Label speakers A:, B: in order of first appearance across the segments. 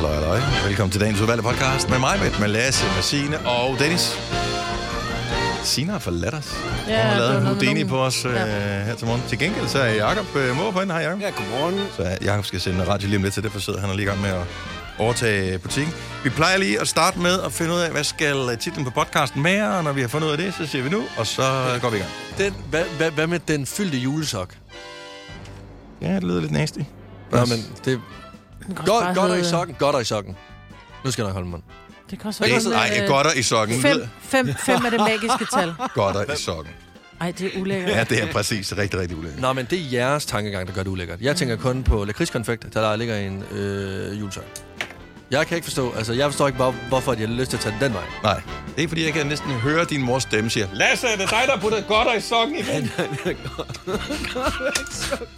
A: Goddag. Velkommen til dagens udvalgte podcast med mig, med Lasse, med Signe og Dennis. Signe har forladt os. Hun
B: det
A: har
B: var
A: lavet en
B: noget med
A: Houdini
B: nogen.
A: på os øh, her til morgen. Til gengæld så er Jacob øh, mor på hende. Hej, Jacob.
C: Ja, godmorgen.
A: Så øh, Jacob skal sende radio lige om lidt, så derfor sidder han lige i gang med at overtage butikken. Vi plejer lige at starte med at finde ud af, hvad skal øh, titlen på podcasten være, og når vi har fundet ud af det, så siger vi nu, og så øh, går vi i gang.
C: Den, hvad, hvad, hvad med den fyldte julesok?
A: Ja, det lyder lidt nasty.
C: Nå, men det... Godt, godt er i
B: sokken.
C: sokken, godt er i sokken. Nu skal jeg nok holde mig.
B: Det kan også
C: Det-
B: være
A: det,
B: sådan,
A: ej,
B: øh,
A: godter i sokken.
B: Fem,
A: Lyder-
B: fem, fem er det magiske tal.
A: Godter i sokken.
B: Ej, det er ulækkert.
A: Ja, det er præcis rigtig, rigtig ulækkert.
C: Nå, men det er jeres tankegang, der gør det ulækkert. Jeg tænker kun på lakridskonfekt, der, der ligger i en øh, julesok. Jeg kan ikke forstå, altså jeg forstår ikke, hvor, hvorfor at jeg har lyst til at tage den den vej.
A: Nej, det er fordi, jeg kan næsten høre din mors stemme siger, Lasse, er det dig, der putter godter i sokken igen?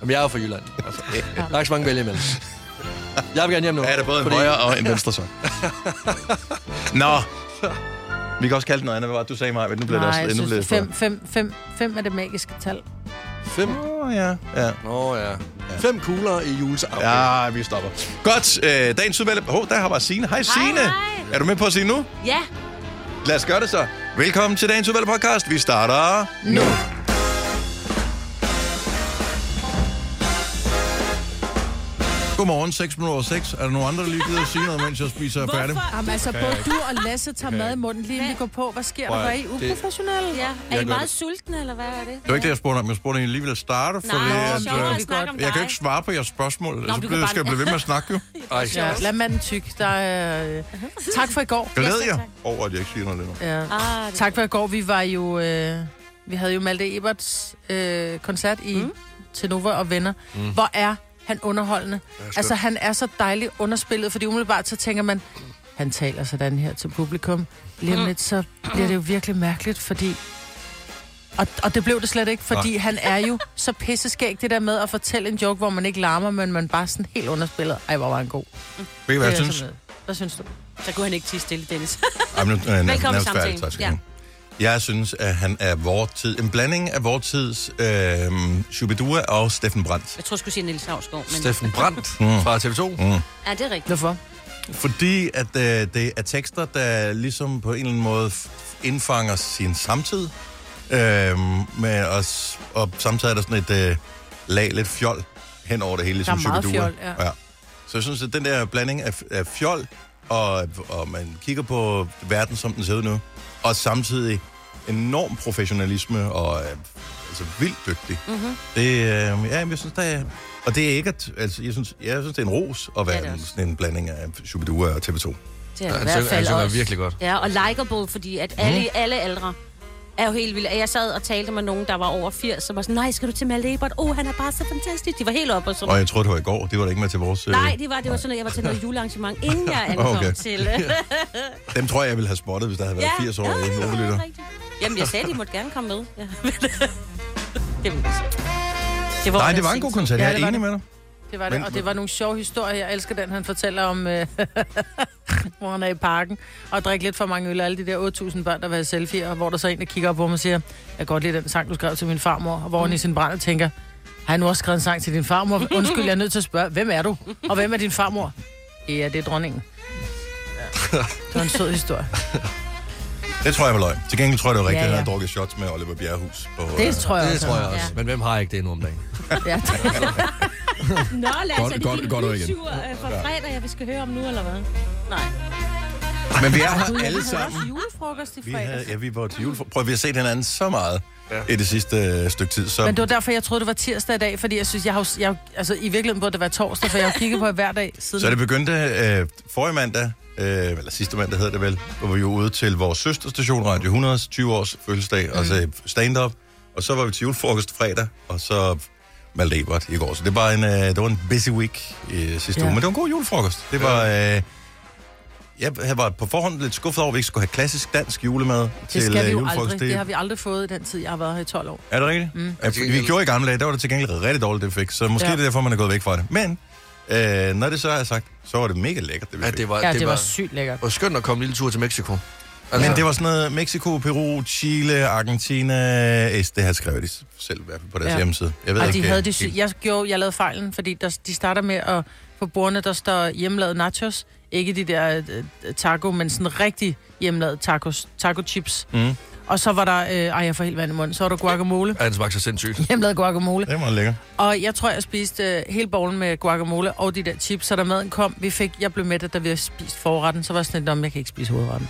C: Jamen, jeg er jo fra Jylland. Altså, der er ikke så mange vælge imellem. Jeg vil gerne hjem nu.
A: Ja, det er både en
C: fordi-
A: højre og en venstre sok. Nå, vi kan også kalde den noget andet. Hvad var det, du sagde mig? Men nu blev det
B: Nej,
A: også...
B: jeg
A: nu blev
B: synes,
A: det
B: fem, fem, fem, fem er det magiske tal.
C: Fem?
A: Åh, oh, ja. ja.
C: Nå, ja. Fem kugler i julesok. Okay.
A: Ja, vi stopper. Godt, øh, dagens udvalg. Hov, der har bare Signe. Hej, Signe.
D: hej.
A: Er du med på at sige nu?
D: Ja,
A: Lad os gøre det så. Velkommen til dagens udvalg podcast. Vi starter nu.
E: Godmorgen, 6 minutter over 6. Er der nogen andre, der lige gider at sige noget, mens jeg spiser færdig?
B: Jamen altså, både du og Lasse tager mad i munden lige inden vi går på. Hvad sker der?
E: Prøv
B: Var
E: at-
B: I uprofessionelle?
D: ja. Er
E: Jeg gør
D: I meget
E: det.
D: sultne, eller hvad er det?
E: Det var ikke det, jeg spurgte om. Jeg spurgte, om I lige ville starte,
D: Nej,
E: fordi
D: det er
E: at,
D: sjovere at
E: øh,
D: snakke om dig.
E: jeg kan ikke svare på jeres spørgsmål. Nå,
D: du
E: så
D: kan
E: bliver,
D: bare-
E: skal jeg blive ved med at snakke, jo.
C: Ej,
B: Ja, lad manden tyk. Der er, øh, tak for i går.
E: Glæd jer
D: tak.
E: over, at jeg ikke siger noget længere.
B: Ja.
D: Ah, det
B: Tak for i går. Vi var jo... Øh, vi havde jo Malte Eberts øh, koncert i mm. Tenova og Venner. Mm. Hvor er han underholdende? Altså, han er så dejlig underspillet, fordi umiddelbart så tænker man, han taler sådan her til publikum. Lige
D: Mm.
B: om lidt, så bliver det jo virkelig mærkeligt, fordi... Og, og det blev det slet ikke, fordi han er jo så pisseskæg, det der med at fortælle en joke, hvor man ikke larmer, men man bare sådan helt underspillet. Ej, hvor var han god.
E: Ved I, hvad jeg
B: Det er
E: synes?
B: sådan noget. Hvad synes du?
D: Så kunne han ikke tige stille, Dennis.
E: Ej, men nu er jeg næ-
D: Velkommen
E: nærmest
D: samtalen.
E: færdig, tak skal
D: Ja.
E: ja.
A: Jeg synes, at han er vor tid. En blanding af vor tids øh, Shubidua og Steffen Brandt.
D: Jeg tror, jeg skulle sige Niels Havsgaard, men... Mm.
C: Steffen Brandt
A: Mm.
C: fra TV2.
D: Ja, det er rigtigt.
B: Hvorfor?
A: Fordi at øh, det er tekster, der ligesom på en eller anden måde f- indfanger sin samtid. Øhm, med os, og samtidig er der sådan et øh, lag lidt fjol hen over det hele. Ligesom
B: Der er meget
A: Shubidua.
B: fjol, ja.
A: Så jeg synes, at den der blanding af, af fjol, og, og man kigger på verden, som den ser ud nu, og samtidig enorm professionalisme og øh, altså vildt dygtig. Mm-hmm. Det, øh, ja, men jeg synes, der er... Og det er ikke... At, altså, jeg synes, jeg synes, det er en ros at
D: Ja, det
A: være
D: er
A: ja,
D: også.
A: sådan en blanding af Shubidua og TV2.
D: Det er
C: Han
D: det
A: altså,
D: i hvert
C: synger- han
D: fald
C: synger
D: også.
C: altså, virkelig godt.
D: Ja, og likeable, fordi at alle, alle ældre er jo helt vilde. Jeg sad og talte med nogen, der var over 80, som var sådan, nej, skal du til Malte Ebert? Åh, oh, han er bare så fantastisk. De var helt oppe og sådan.
A: Og jeg tror, det var i går. Det var da ikke med til vores... øh,
D: Nej, det var, det var sådan, at jeg var til noget julearrangement, inden jeg ankom
A: Okay.
D: okay. til... øh,
A: Dem tror jeg, jeg ville have spottet, hvis der havde været 80 år ja,
D: det
A: i
D: er
A: overlytter.
D: rigtigt. Jamen, jeg sagde, at de måtte gerne komme med. Ja. det var, det
A: Nej, det var en god koncert.
B: Ja,
A: Jeg
B: det
A: er
B: var
A: enig med
B: det.
A: dig.
B: Det var det,
A: Men-
B: og det var nogle sjove historier. Jeg elsker den, han fortæller om, øh, hvor han er i parken og drikker lidt for mange øl, og alle de der 8.000 børn, der var i selfie, og hvor der så er en, der kigger op på mig og siger, jeg kan godt lide den sang, du skrev til min farmor, og hvor han i sin brænder tænker, har han nu også skrevet en sang til din farmor? Undskyld, jeg er nødt til at spørge, hvem er du? Og hvem er din farmor? Ja, det er dronningen. Ja. Det var en sød historie.
A: Det tror jeg var løgn. Til gengæld tror jeg, det var rigtigt,
B: Ja,
A: at
B: ja.
A: han havde drukket shots med Oliver Bjerrehus. På, øh,
B: Det tror jeg
C: Det
B: også.
C: tror jeg også.
D: Ja.
C: Men hvem har ikke det endnu om dagen?
B: Ja,
D: Nå, lad
E: Godt-
D: det
E: godt-
D: din
E: godt ud igen.
D: tur øh, fra fredag, jeg vi skal høre om nu, eller hvad? Nej.
A: øh, Men vi er her alle sammen.
B: også julefrokost i
A: Vi havde,
B: fredags.
A: ja, vi var til jule. Prøv, vi har set hinanden så meget ja. i det sidste øh, stykke tid. Så
B: Men det var derfor, jeg troede, det var tirsdag i dag, fordi jeg synes, jeg har, jo- jeg, har jo- altså i virkeligheden burde det være torsdag, for jeg har kigget på jer hver dag siden.
A: Så det begyndte øh, forrige mandag, øh, eller sidste mandag hedder det vel, hvor vi var ude til vores søsterstation, Radio 100's 20-års fødselsdag, mm. og så
B: Mhm.
A: stand-up, og så var vi til julefrokost fredag, og så Malte Ebert i går. Så det var en, øh, det var en busy week øh, sidste
B: Ja.
A: ja. uge, men det var en god julefrokost. Det var... Øh, jeg havde- var på forhånd lidt skuffet over, at vi ikke skulle have klassisk dansk julemad til
B: Det skal
A: øh,
B: vi jo
A: julefrokost.
B: aldrig. Det har vi aldrig fået i den tid, jeg har været her i 12 år.
A: Er det rigtigt? Mm. Altså, vi gjorde i gamle dage, der var det til gengæld rigtig dårligt, det vi fik. Så måske
B: Ja.
A: ja. det er derfor, man er gået væk fra det. Men øh, når det så er sagt, så var det mega lækkert, det vi
C: Ja,
A: fik.
C: det var,
B: Ja, det, var sygt lækkert.
C: Og skønt at komme en lille tur til Mexico.
A: Altså. Men det var sådan noget Mexico, Peru, Chile, Argentina... Es, det har jeg skrevet de selv i hvert fald på deres ja.
B: Ja.
A: hjemmeside. Jeg ved
B: Og
A: ikke, øh,
B: de havde de sy-
A: helt-
B: jeg, gjorde, jeg lavede fejlen, fordi der, de starter med at... På bordene, der står hjemmelavet nachos. Ikke de der øh, taco, men sådan rigtig hjemmelavet tacos, taco chips.
A: Mm.
B: Og så var der... Øh, ej, jeg får helt vand i munden. Så var der guacamole.
C: Ja, den smagte så sindssygt.
B: Hjemmelavet guacamole.
A: Det var lækker.
B: Og jeg tror, jeg spiste øh, hele bowlen med guacamole og de der chips. Så da maden kom, vi fik, jeg blev mættet, da vi havde spist forretten. Så var jeg sådan lidt, om jeg kan ikke spise hovedretten.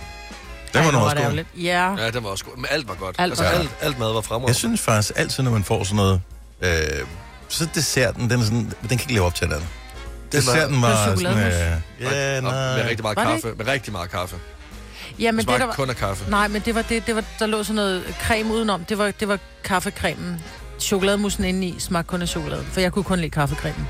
A: Det var
B: hvor
A: nu også
B: det
A: god.
B: ærgerligt. Ja,
C: Ja, den var også god. Men alt var godt.
B: Alt
C: altså,
B: var
C: alt, alt mad var fremragende.
A: Jeg synes faktisk altid, når man får sådan noget... Øh, så desserten, den, er sådan, den kan ikke leve op til den. Desserten
B: Det var
A: var sådan...
B: chokolademus.
A: Øh, ja,
C: Ja, med
A: nej.
C: rigtig meget
B: Var det
C: kaffe. Med rigtig meget kaffe. Men
B: ja men
C: det
B: det, der
C: smagte
B: var,
C: kun af kaffe.
B: Nej, men det var det, det var, der lå sådan noget creme udenom. Det var, det var kaffecremen. Chokolademussen indeni smagte kun af chokolade, for jeg kunne kun lide kaffecremen.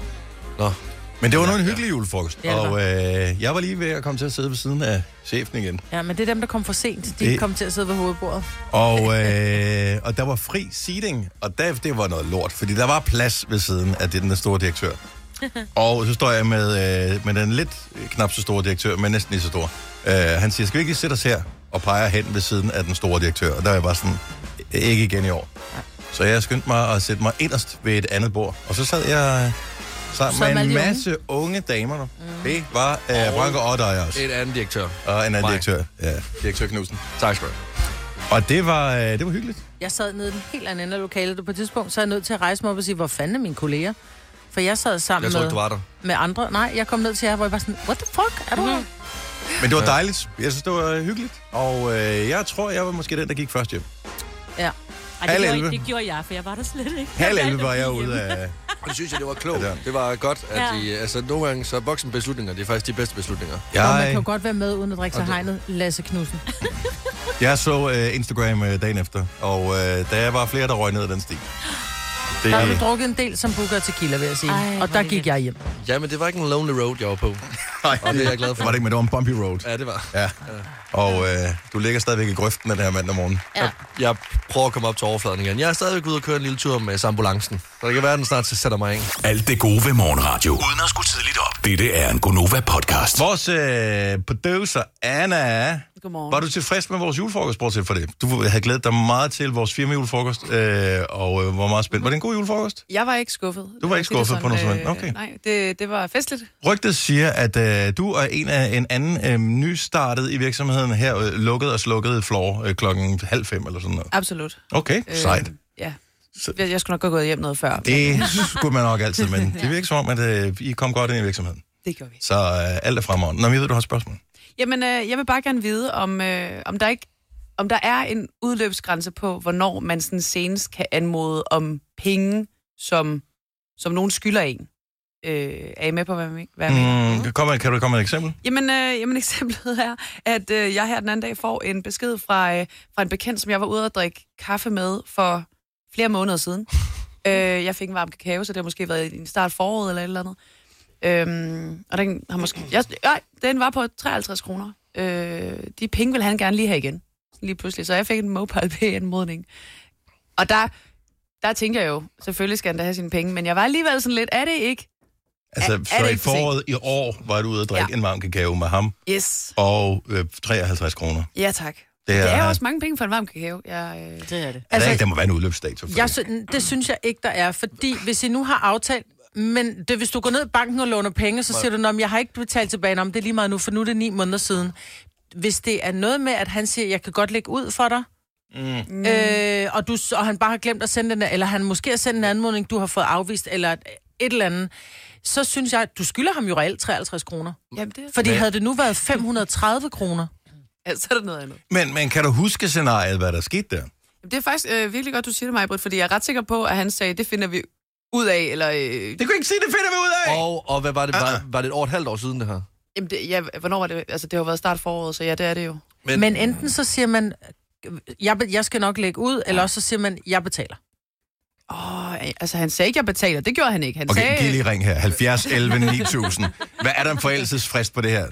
C: Nå.
A: Men det var nu en hyggelig julefrokost.
B: Ja, det var.
A: Og øh, jeg var lige ved at komme til at sidde ved siden af chefen igen.
B: Ja, men det er dem, der kom for sent. De
A: Det-
B: det... kom til at sidde ved hovedbordet.
A: Og, øh, og der var fri seating, og der, det var noget lort, fordi der var plads ved siden af det, den store direktør. Og så står jeg med, øh, med den lidt knap så store direktør, men næsten lige så stor. Øh, han siger, skal vi ikke lige sætte os her? Og peger hen ved siden af den store direktør. Og der er jeg bare sådan, ikke igen i år. Så jeg skyndte mig at sætte mig inderst ved et andet bord. Og så sad jeg øh, sammen
B: Sad med
A: med
B: alle
A: en
B: de unge?
A: masse unge damer. Mm. Det var øh,
C: Og-
A: Branko og dig også.
C: En anden direktør.
A: Og en anden
C: mig.
A: direktør. Ja, direktør Knudsen.
C: Tak skal du have.
A: Og det var, øh, det var hyggeligt.
B: Jeg sad nede i den helt anden ende af lokalet, og på et tidspunkt, så er jeg nødt til at rejse mig op og sige, hvor fanden er mine kolleger? For jeg sad sammen
C: Jeg tror
B: med,
C: ikke, du var der. Mhm.
B: med andre. Nej, jeg kom ned til jer, hvor jeg var sådan, what the fuck, er du her?
A: Men det var dejligt. Jeg synes, det var hyggeligt. Og øh, jeg tror, jeg var måske den, der gik først hjem.
B: Ja.
D: Ej,
A: Halv
D: det,
A: elleve.
D: gjorde, det gjorde jeg, for jeg var der slet ikke.
A: Halv
D: Jeg
A: 11 var
D: valgte
A: jeg
D: at blive
A: ude
D: hjemme.
A: af...
C: Og det synes jeg, det var klogt.
A: Ja.
C: Det var godt, at
D: Ja.
C: de, altså, nogle gange så voksenbeslutninger, det er faktisk de bedste beslutninger.
B: Nå, man kan jo
A: Jeg,
B: godt være med, uden at drikke sig
C: Og det-
B: hegnet. Lasse Knudsen.
A: jeg så øh, Instagram øh, dagen efter, og øh, der var flere, der røg ned ad den sti. Det,
B: Der har du drukket en del som booker tequila, vil jeg sige.
D: Ej,
B: og
D: hvor
B: der
D: er det
B: gik jeg hjem.
C: Jamen, det var ikke en lonely road, jeg var på.
A: nej,
C: Og det er jeg glad for.
A: var det ikke, men det var en bumpy road.
C: Ja, det var.
A: Ja. Og øh, du ligger stadigvæk i grøften af den her mandag morgen.
D: Ja.
C: Jeg prøver at komme op til overfladen igen. Jeg er stadigvæk ude og køre en lille tur med ambulancen. Så det kan være, at den snart sætter mig ind.
F: Alt det gode ved morgenradio. Uden at skulle tidligt op. Dette er en Gonova-podcast.
A: Vores øh, producer, Anna...
G: Godmorgen.
A: Var du tilfreds med vores julefrokost, bortset for det? Du havde glædet dig meget til vores firma julefrokost, øh, og øh, var meget spændt. Var det en god julefrokost?
G: Jeg var ikke skuffet.
A: Du var ikke
G: Lad os
A: skuffet
G: sige det
A: på noget som
G: sådan.
A: helst. Okay.
G: Øh, Nej, det, det var festligt.
A: Rygtet siger, at øh, du er en af en anden øh, nystartet i virksomheden her, øh, lukket og slukket floor øh, klokken halv fem eller sådan noget.
G: Absolut.
A: Okay,
G: Øh,
A: sejt.
G: Ja.
A: Så-
G: Jeg, jeg skulle nok have gået hjem noget før. Det,
A: Det skulle man nok altid, men det virker som om, at øh, I kom godt ind i virksomheden.
G: det gjorde vi.
A: Så øh, alt er fremragende. Nå, men jeg ved, du har et spørgsmål.
G: Jamen, øh, jeg vil bare gerne vide, om, øh, om, der ikke, om der er en udløbsgrænse på, hvornår man sådan senest kan anmode om penge, som, som nogen skylder en. Øh, er I med på, hvad jeg hvad jeg mener?
A: Mm, kom, med- kan du komme med et eksempel?
G: Jamen, øh, jamen eksemplet er, at øh, jeg her den anden dag får en besked fra, øh, fra en bekendt, som jeg var ude at drikke kaffe med for flere måneder siden. øh, jeg fik en varm kakao, så det har måske været i en start foråret eller et eller andet. Øhm, og den har måske... Jeg, øh, den var på 53 kroner. Øh, de penge vil han gerne lige have igen. Lige pludselig. Så jeg fik en mobile pay-anmodning. Og der, der tænker jeg jo, selvfølgelig skal han da have sine penge, men jeg var alligevel sådan lidt, er det ikke?
A: Altså,
G: Er- er
A: så
G: det
A: i
G: ikke for sent?
A: foråret i år var du ude at drikke ja.
G: Ja.
A: en varm kakao med ham,
G: Yes.
A: og øh, 53 kroner.
G: Ja, tak.
A: Det er,
G: Det er jo også mange penge for en varm kakao. Jeg, øh...
B: Det er det.
A: Altså, der, ikke, der må være en udløbsdato. for
B: Jeg
A: det.
B: sy- det synes jeg ikke, der er, fordi hvis I nu har aftalt, men det, hvis du går ned i banken og låner penge, så siger du, at jeg har ikke betalt tilbage, om det er lige meget nu, for nu er det ni måneder siden. Hvis det er noget med, at han siger, jeg kan godt lægge ud for dig, mm. øh, og, du, s- og han bare har glemt at sende den, eller han måske har sendt en anmodning, du har fået afvist, eller et et eller andet, så synes jeg, at du skylder ham jo reelt 53 kroner.
G: Jamen, det er...
B: Fordi havde det nu været 530 kroner,
G: Ja, så er der noget andet.
A: Men, men kan du huske scenariet, hvad der skete der?
G: Jamen, det er faktisk øh, virkelig godt, du siger det, mig, Britt, fordi jeg er ret sikker på, at han sagde, det finder vi ud af, eller... Øh,
A: Det kunne jeg ikke se, det finder vi ud af!
C: Og, og hvad var det? Var,
A: Ah.
C: var det et år og et halvt år siden, det her?
G: jamen, det, ja, hvornår var det? Altså, det har jo været start foråret, så ja, det er det jo.
C: Men-
B: men, men enten så siger man, jeg, be- jeg skal nok lægge ud, eller også så siger man, jeg betaler.
G: Åh, øh, altså, han sagde ikke, jeg betaler. Det gjorde han ikke. Han
A: Okay, giv
G: sagde,
A: lige ring her. 70 11 9000. Hvad er der en forældelsesfrist på det her?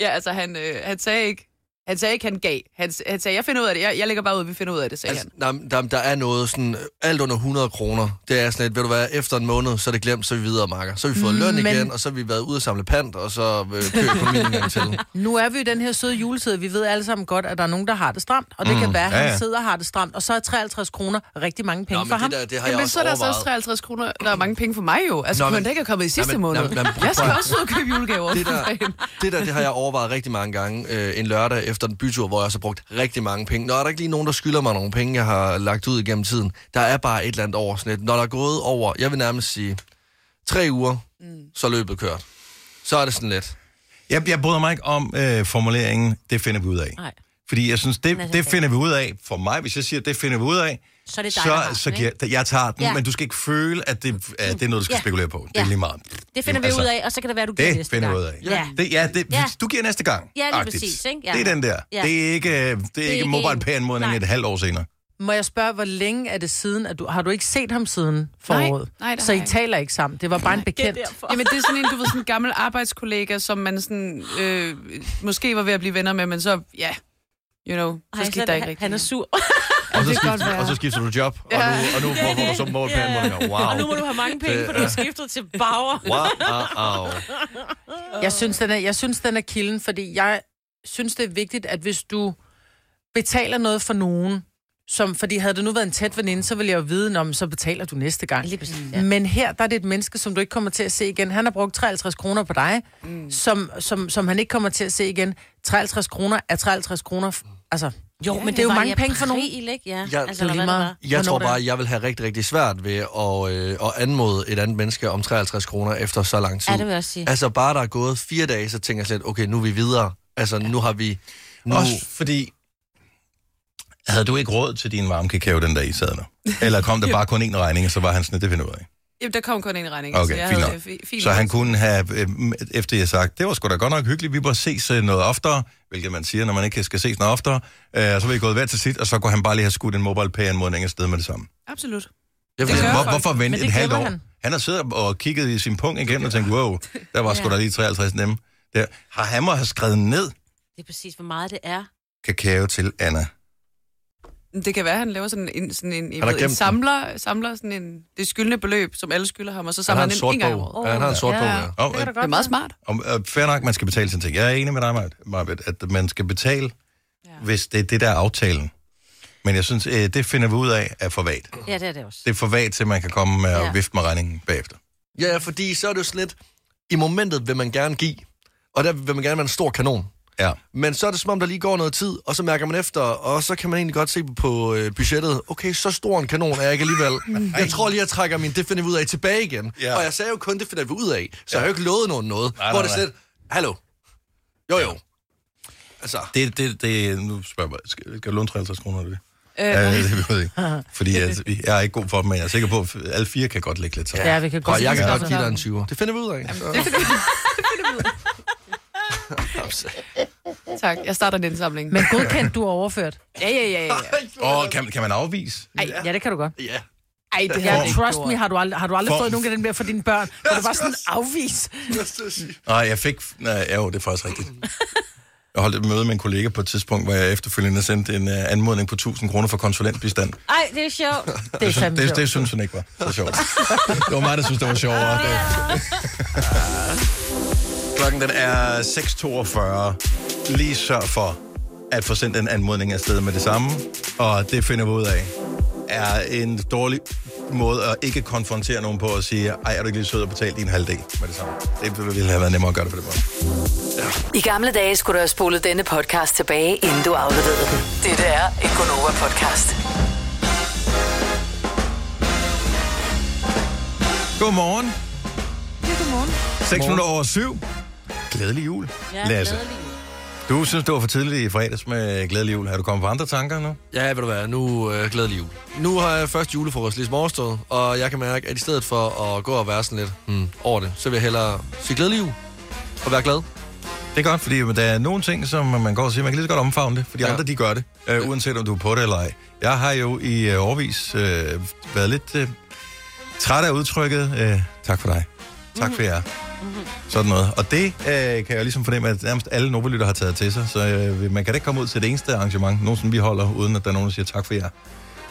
G: ja, altså, han, øh, han sagde ikke, Han sagde ikke, han gav. Han, s- han sagde, jeg finder ud af det. Jeg, jeg lægger bare ud, vi finder ud af det, sagde
C: Altså,
G: altså, han.
C: der, der, der er noget sådan, øh, alt under 100 kroner, det er sådan et, ved du hvad, efter en måned, så er det glemt, så er vi videre marker. Så har vi fået
D: Mm,
C: løn
B: Men-
C: igen, og så har vi været ude og samle pant, og så øh, kører økonomien en gang til.
B: Nu er vi jo i den her søde juletid. Vi ved alle sammen godt, at der er nogen, der har det stramt. Og det mm, kan være, at
A: ja,
B: han
A: ja.
B: sidder og har det stramt. Og så er 53 kroner rigtig mange penge
C: Nå,
B: for
C: men
B: ham.
C: det, der, det har jeg
G: Jamen,
C: også
G: så er der så
C: overvejet.
G: også 53 kroner. Der er mange penge for mig jo.
C: Nå,
G: Altså, Nå,
C: men-
G: kunne han da ikke have kommet i sidste
C: men-
G: måned?
C: nå, men- nå, men-
G: jeg skal
C: prøv at-
G: også ud og købe julegaver.
C: det der, det der, det har jeg overvejet rigtig mange gange øh, en lørdag efter en bytur, hvor jeg også har brugt rigtig mange penge. Nå, er der ikke lige nogen, der skylder mig nogle penge, jeg har lagt ud igennem tiden? Der er bare et eller andet over sådan lidt. Når der er gået over, jeg vil nærmest sige, tre uger, mm. så er løbet kørt. Så er det sådan lidt.
A: Jeg, jeg bryder mig ikke om øh, formuleringen, det finder vi ud af.
D: Nej.
A: Fordi jeg synes,
D: Men
A: det,
D: så
A: det
D: sagde
A: finder vi ud af, for mig, hvis jeg siger, det finder vi ud af,
D: altså, Så er det dig, der
A: så,
D: har den,
A: så
D: ikke?
A: giver, jeg tager den, ja.
D: Ja.
A: men du skal ikke føle, at det, at det er noget, du skal
D: Ja.
A: spekulere på. Det er
D: Ja.
A: lige meget.
D: Det finder vi
A: Altså,
D: ud af, og så kan det være, du giver
A: Det
D: næste
A: finder vi
D: gang.
A: ud af.
D: Ja.
A: Det, ja, det,
D: Ja.
A: du giver næste gang.
D: Ja, lige
A: agtigt.
D: præcis, ikke? Ja.
A: Det er den der.
D: Ja.
A: Det er ikke, øh, det er det er ikke
D: ikke
A: mobile
D: en-
A: pay anmodning
D: Nej.
A: et halvt år senere.
B: Må jeg spørge, hvor længe er det siden, at du... Har du ikke set ham siden foråret?
G: nej, det
B: så
G: har
B: I
G: jeg ikke.
B: taler ikke sammen. Det var bare en bekendt.
G: Jamen, det er sådan en, du ved, sådan en gammel arbejdskollega, som man sådan, øh, måske var ved at blive venner med, men så, ja, you know, så
D: Ej,
G: skete der ikke
D: han,
G: rigtigt.
D: han er sur.
A: Og så,
G: kan godt
A: skifter,
G: være.
A: og så skifter du job, og
G: Ja.
A: nu, og nu får du så mobile pay anmodninger.
D: Og nu
A: Wow.
D: må du have mange penge, for du har skiftet til Bauer.
C: Wow.
B: Jeg synes, den er, jeg synes, den er kilden, fordi jeg synes, det er vigtigt, at hvis du betaler noget for nogen, som, fordi havde det nu været en tæt veninde, så ville jeg jo vide, om så betaler du næste gang.
D: Lige præcis,
B: Ja.
D: ja.
B: Men her, der er det et menneske, som du ikke kommer til at se igen. Han har brugt 53 kroner på dig, mm. som, som, som han ikke kommer til at se igen. 53 kroner er 53 kroner. f- Altså, jo, men det, er jo mange penge for nogen.
D: April, ikke? Ja,
C: Ja,
D: altså,
B: det er
D: eller
B: lige
D: hvad
B: meget.
D: var.
C: Jeg
B: Hvornår
C: tror
B: det er?
C: bare, jeg vil have rigtig, rigtig svært ved at, øh, at anmode et andet menneske om 53 kroner efter så lang tid.
D: Ja, det vil jeg også sige.
C: Altså bare der er gået fire dage, så tænker jeg slet, okay, nu er vi videre. Altså nu har vi... Nu,
A: Også fordi, havde du ikke råd til din varme kakao, den der i sad nu? Eller kom der bare kun én regning, og så var han sådan, det finder vi ud af.
G: Jamen, der kom kun en regning.
A: Okay,
G: så jeg
A: fint
G: havde,
A: nok.
G: øh, fi- fint
A: Så
G: nok.
A: han kunne have, øh, efter jeg har sagt, det var sgu da godt nok hyggeligt, vi må ses øh, noget oftere, hvilket man siger, når man ikke skal ses noget oftere, øh, og så var I gået hver til sit, og så kunne han bare lige have skudt en mobile pay anmodning afsted med det samme.
G: Absolut.
C: jeg vil,
G: Det gør
A: Hvor,
G: folk.
A: hvorfor
B: Men
A: vente
B: det
A: et halvt
B: glemmer
A: år? Han.
B: han.
A: han har siddet og kigget i sin punkt igennem og tænkt, wow, der var sgu
D: Ja.
A: da lige 53 nemme. Der. Har han må have skrevet ned
D: Det er præcis, hvor meget det er.
A: kakao til Anna.
G: Det kan være, han laver sådan en, sådan en, jeg
C: har
G: ved,
C: gemt
G: en
C: den.
G: samler, samler sådan en, det skyldne beløb, som alle skylder ham, og så
C: han
G: samler
C: har
G: han
C: en
G: den
C: sort
G: en gang om
C: bog.
G: året.
C: Ja, han har en sort
G: Ja.
C: bog, ja.
A: Og, øh,
B: da
G: Det er meget smart.
A: og, øh, fair nok, man skal betale sine ting. Jeg er enig med dig, Marbet, at man skal betale, ja. hvis det er det, der er aftalen. Men jeg synes, øh, det finder vi ud af er for vagt.
D: Ja, det er det også.
A: Det er for vagt til, at man kan komme med og
D: Ja.
A: vifte med regningen bagefter.
C: Ja, fordi så er det jo sådan lidt, i momentet vil man gerne give, og der vil man gerne være en stor kanon.
A: Ja.
C: Men så er det som om, der lige går noget tid, og så mærker man efter, og så kan man egentlig godt se på øh, budgettet, okay, så stor en kanon er jeg ikke alligevel. Jeg tror lige, jeg trækker min, det finder vi ud af tilbage igen.
A: Ja.
C: Ja. Og jeg sagde jo kun, det finder vi ud af, så jeg har jo ikke lovet nogen noget.
A: Nej,
C: Nej, hvor
A: nej,
C: det er sådan lidt, hallo, jo jo. Altså,
A: Det, det, det, nu spørger jeg bare, skal, skal du låne 53 kroner eller det?
G: Øh,
A: Ja, det ved jeg ikke. Fordi jeg, jeg er ikke god for dem, men jeg er sikker på, at alle fire kan godt lægge lidt sammen.
B: Ja, vi kan godt
C: og jeg kan
B: lide
C: godt
B: det.
C: give dig en 20'er. Det finder vi ud af. Jamen,
G: tak, jeg starter en indsamling.
B: Men godkendt, du er overført.
G: Ja, ja, ja, ja.
A: Og kan, kan man afvise?
B: Ej, ja, det kan du godt.
C: ja.
G: Ej, det har
B: Ja,
G: jeg ikke
B: trust
G: gjort.
B: me, har du aldrig, har du aldrig
A: For-
B: fået nogen af den der for dine børn? Hvor du bare sådan afvis.
A: Nej, jeg fik... Nej, ja, jo, det er faktisk rigtigt. Jeg holdt et møde med en kollega på et tidspunkt, hvor jeg efterfølgende sendte en uh, anmodning på 1000 kroner for konsulentbistand. Det,
D: Ej, det er sjovt.
B: Det er fandme
A: det,
B: sjovt.
A: det synes hun ikke var så sjovt. Det var mig, der synes, det var sjovere. Det. Klokken den er 6.42. Lige sørg for at få sendt en anmodning afsted med det samme, og det finder vi ud af er en dårlig måde at ikke konfrontere nogen på og sige, ej, er du ikke lige sød at betale din halvdel med det samme? Det ville have været nemmere at gøre det på den måde.
H: I gamle dage skulle du have spolet denne podcast tilbage, inden du afleverede den. Dette er en Gonova-podcast.
A: Godmorgen. Ja, godmorgen. 6 minutter over 7. Glædelig jul,
D: Ja,
A: Lasse.
D: glædelig.
A: Du synes, det var for tidligt i fredags med glædelig jul. Har du kommet på andre tanker nu?
C: Ja, ved du hvad, nu øh, glædelig jul. Nu har jeg først julefrokost ligesom overstået, og jeg kan mærke, at i stedet for at gå og være sådan lidt hmm, over det, så vil jeg hellere sige glædelig jul og være glad.
A: Det er godt, fordi der er nogle ting, som man går og siger, man kan lige så godt omfavne det, for de ja.
C: Ja.
A: andre, de gør det, øh, uanset om du er på det eller ej. Jeg har jo i øh, årvis øh, været lidt øh, træt af udtrykket, øh, tak for dig, tak for jer, Sådan noget. Og det øh, kan jeg ligesom fornemme, at nærmest alle Nobelytter har taget til sig. Så øh, man kan da ikke komme ud til det eneste arrangement, nogensinde vi holder, uden at der er nogen, der siger tak for jer.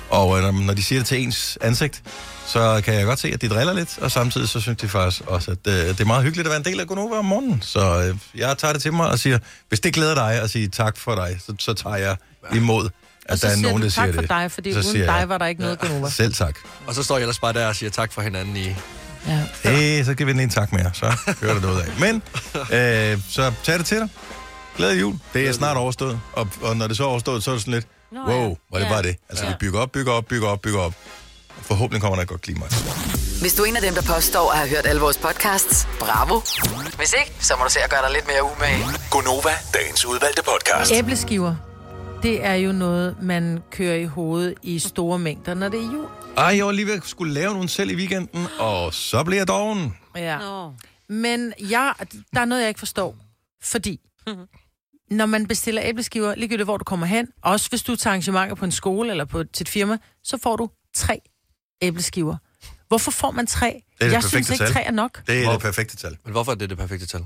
A: Og øh, når- når de siger det til ens ansigt, så kan jeg godt se, at de driller lidt. Og samtidig så synes de faktisk også, at øh, det er meget hyggeligt at være en del af Gonova om morgenen. Så øh, jeg tager det til mig og siger, hvis det glæder dig at sige tak for dig, så, så tager jeg imod, at
B: Og så
A: der er
B: siger
A: nogen,
B: du
A: der siger
B: tak
A: det.
B: for dig, fordi
A: Så
B: uden
A: siger
B: dig
A: jeg,
B: var der ikke noget, Gunova.
A: Selv tak.
C: Og så står jeg ellers bare der og siger tak for hinanden i...
B: Ja.
A: Hey, så giver vi den en tak mere, så hører det noget af. Men, øh, så tag det til dig. Glædelig jul. Det er snart overstået. Og, og når det så er overstået, så er det sådan lidt,
D: Nå,
A: wow,
D: ja.
A: var det
D: Ja.
A: bare det. Altså,
D: Ja.
A: vi bygger op, bygger op, bygger op, bygger op. Forhåbentlig kommer der et godt klima.
H: Hvis du er en af dem, der påstår at have hørt alle vores podcasts, bravo. Hvis ikke, så må du se at gøre dig lidt mere umage.
F: Gonova, dagens udvalgte podcast.
B: Æbleskiver, det er jo noget, man kører i hovedet i store mængder, når det er jul.
A: Ej, jeg var lige ved at skulle lave nogle selv i weekenden, og så bliver jeg doven.
B: Ja.
D: Nå.
B: Men jeg, der er noget, jeg ikke forstår. Fordi, når man bestiller æbleskiver, ligegyldigt hvor du kommer hen, også hvis du tager arrangementer på en skole eller på til et firma, så får du tre æbleskiver. Hvorfor får man tre?
A: er det
B: jeg
A: perfekte
B: synes ikke,
A: tal.
B: tre er nok.
A: Det er
C: Hvor-
A: det perfekte tal.
C: Men hvorfor er det det perfekte tal?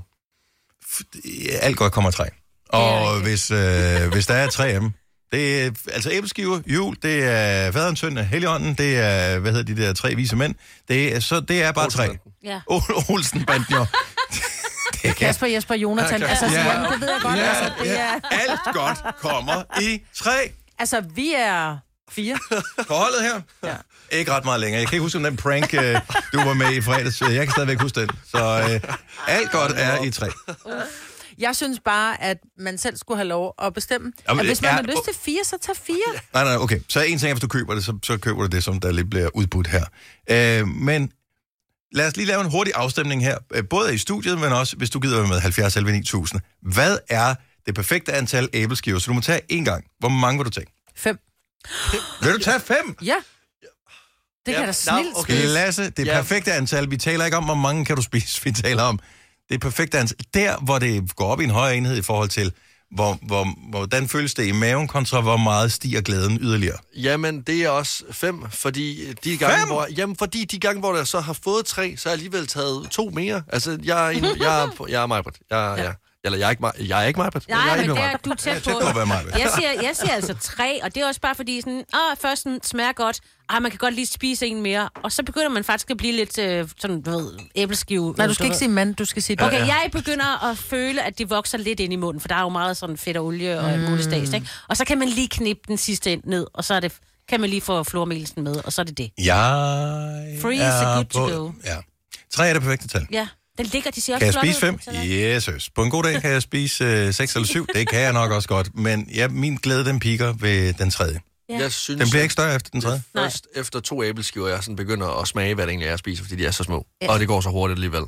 A: alt godt kommer af træ.
D: Det er
A: Og
D: rigtigt.
A: hvis, øh, hvis der er tre af dem, det er altså æbleskiver, jul, det er faderen, søn, heligånden, det er, hvad hedder de der tre vise mænd, det er, så det er bare tre.
D: Ja.
A: Ol- Olsen banden, jo. det er
B: Kasper, Jesper, Jonathan,
C: Ja,
B: altså,
C: ja.
B: sådan, det ved jeg godt.
A: Ja,
B: altså, det er,
A: alt godt kommer i tre
B: altså, vi er fire.
A: på holdet her. Ja. Ikke ret meget længere. Jeg kan ikke huske, om den prank, øh, du var med i fredags. Øh, Jeg kan stadigvæk huske den. Så øh, alt godt er i tre.
B: Jeg synes bare, at man selv skulle have lov at bestemme.
A: Jamen,
B: at hvis man
A: ja,
B: har lyst
A: og-
B: til fire, så tag fire.
A: Nej, nej, okay. Så en ting er, hvis du køber det, så, så køber du det, som der lige bliver udbudt her. Øh, men lad os lige lave en hurtig afstemning her, øh, både i studiet, men også, hvis du gider være med, 70 11 9000. Hvad er det perfekte antal æbleskiver? Så du må tage en gang. Hvor mange vil du tage?
B: Fem.
A: Vil du tage fem?
B: Ja. Det
C: Ja,
B: kan da
C: nå,
B: snilt
C: okay.
B: spise.
A: Lasse, det
C: Ja.
A: perfekte antal. Vi taler ikke om, hvor mange kan du spise. Vi taler om det perfekte antal. Der, hvor det går op i en højere enhed i forhold til, hvor, hvor, hvordan føles det i maven, kontra hvor meget stiger glæden yderligere.
C: Jamen, det er også fem, fordi de gange,
A: Fem?
C: Hvor, jamen, fordi de gange, hvor jeg så har fået tre, så har jeg alligevel taget to mere. Altså, jeg er, en, jeg er, jeg er Majbert. Jeg, er- jeg, eller jeg er ikke, Maj- jeg er ikke Majbert. men jeg
D: Nej,
C: er
D: men
C: Iben
D: det er,
C: Majbert.
D: du er tæt på.
A: tæt på at være mig, vel?
D: Jeg siger, jeg siger altså tre, og det er også bare fordi, sådan, åh, først sådan, smager godt, ah, man kan godt lige spise en mere, og så begynder man faktisk at blive lidt øh, sådan, du ved, æbleskive.
B: Nej,
D: du
B: du skal ikke
D: ved.
B: sige mand, du skal sige...
D: Okay, jeg begynder at føle, at det vokser lidt ind i munden, for der er jo meget sådan fedt og olie og mm. muligt stads, ikke? Og så kan man lige knippe den sidste ind ned, og så er det, kan man lige få flormelsen med, og så er det det.
A: Jeg
D: Free is a
A: er
D: good to go.
A: Ja. Tre er det perfekte tal.
D: Ja, den ligger, de siger også
A: Kan jeg
D: flot
A: spise
D: ud,
A: fem?
D: så der-
A: Jesus. På en god dag kan jeg spise øh, seks eller syv. Det kan jeg nok også godt. Men ja, min glæde, den piker ved den tredje.
D: Ja.
C: Jeg synes,
A: Den bliver ikke større efter den tredje.
D: Nej.
C: først efter to æbleskiver, jeg sådan begynder at smage, hvad det egentlig er, jeg spiser, fordi de er så små. Og det går så hurtigt alligevel.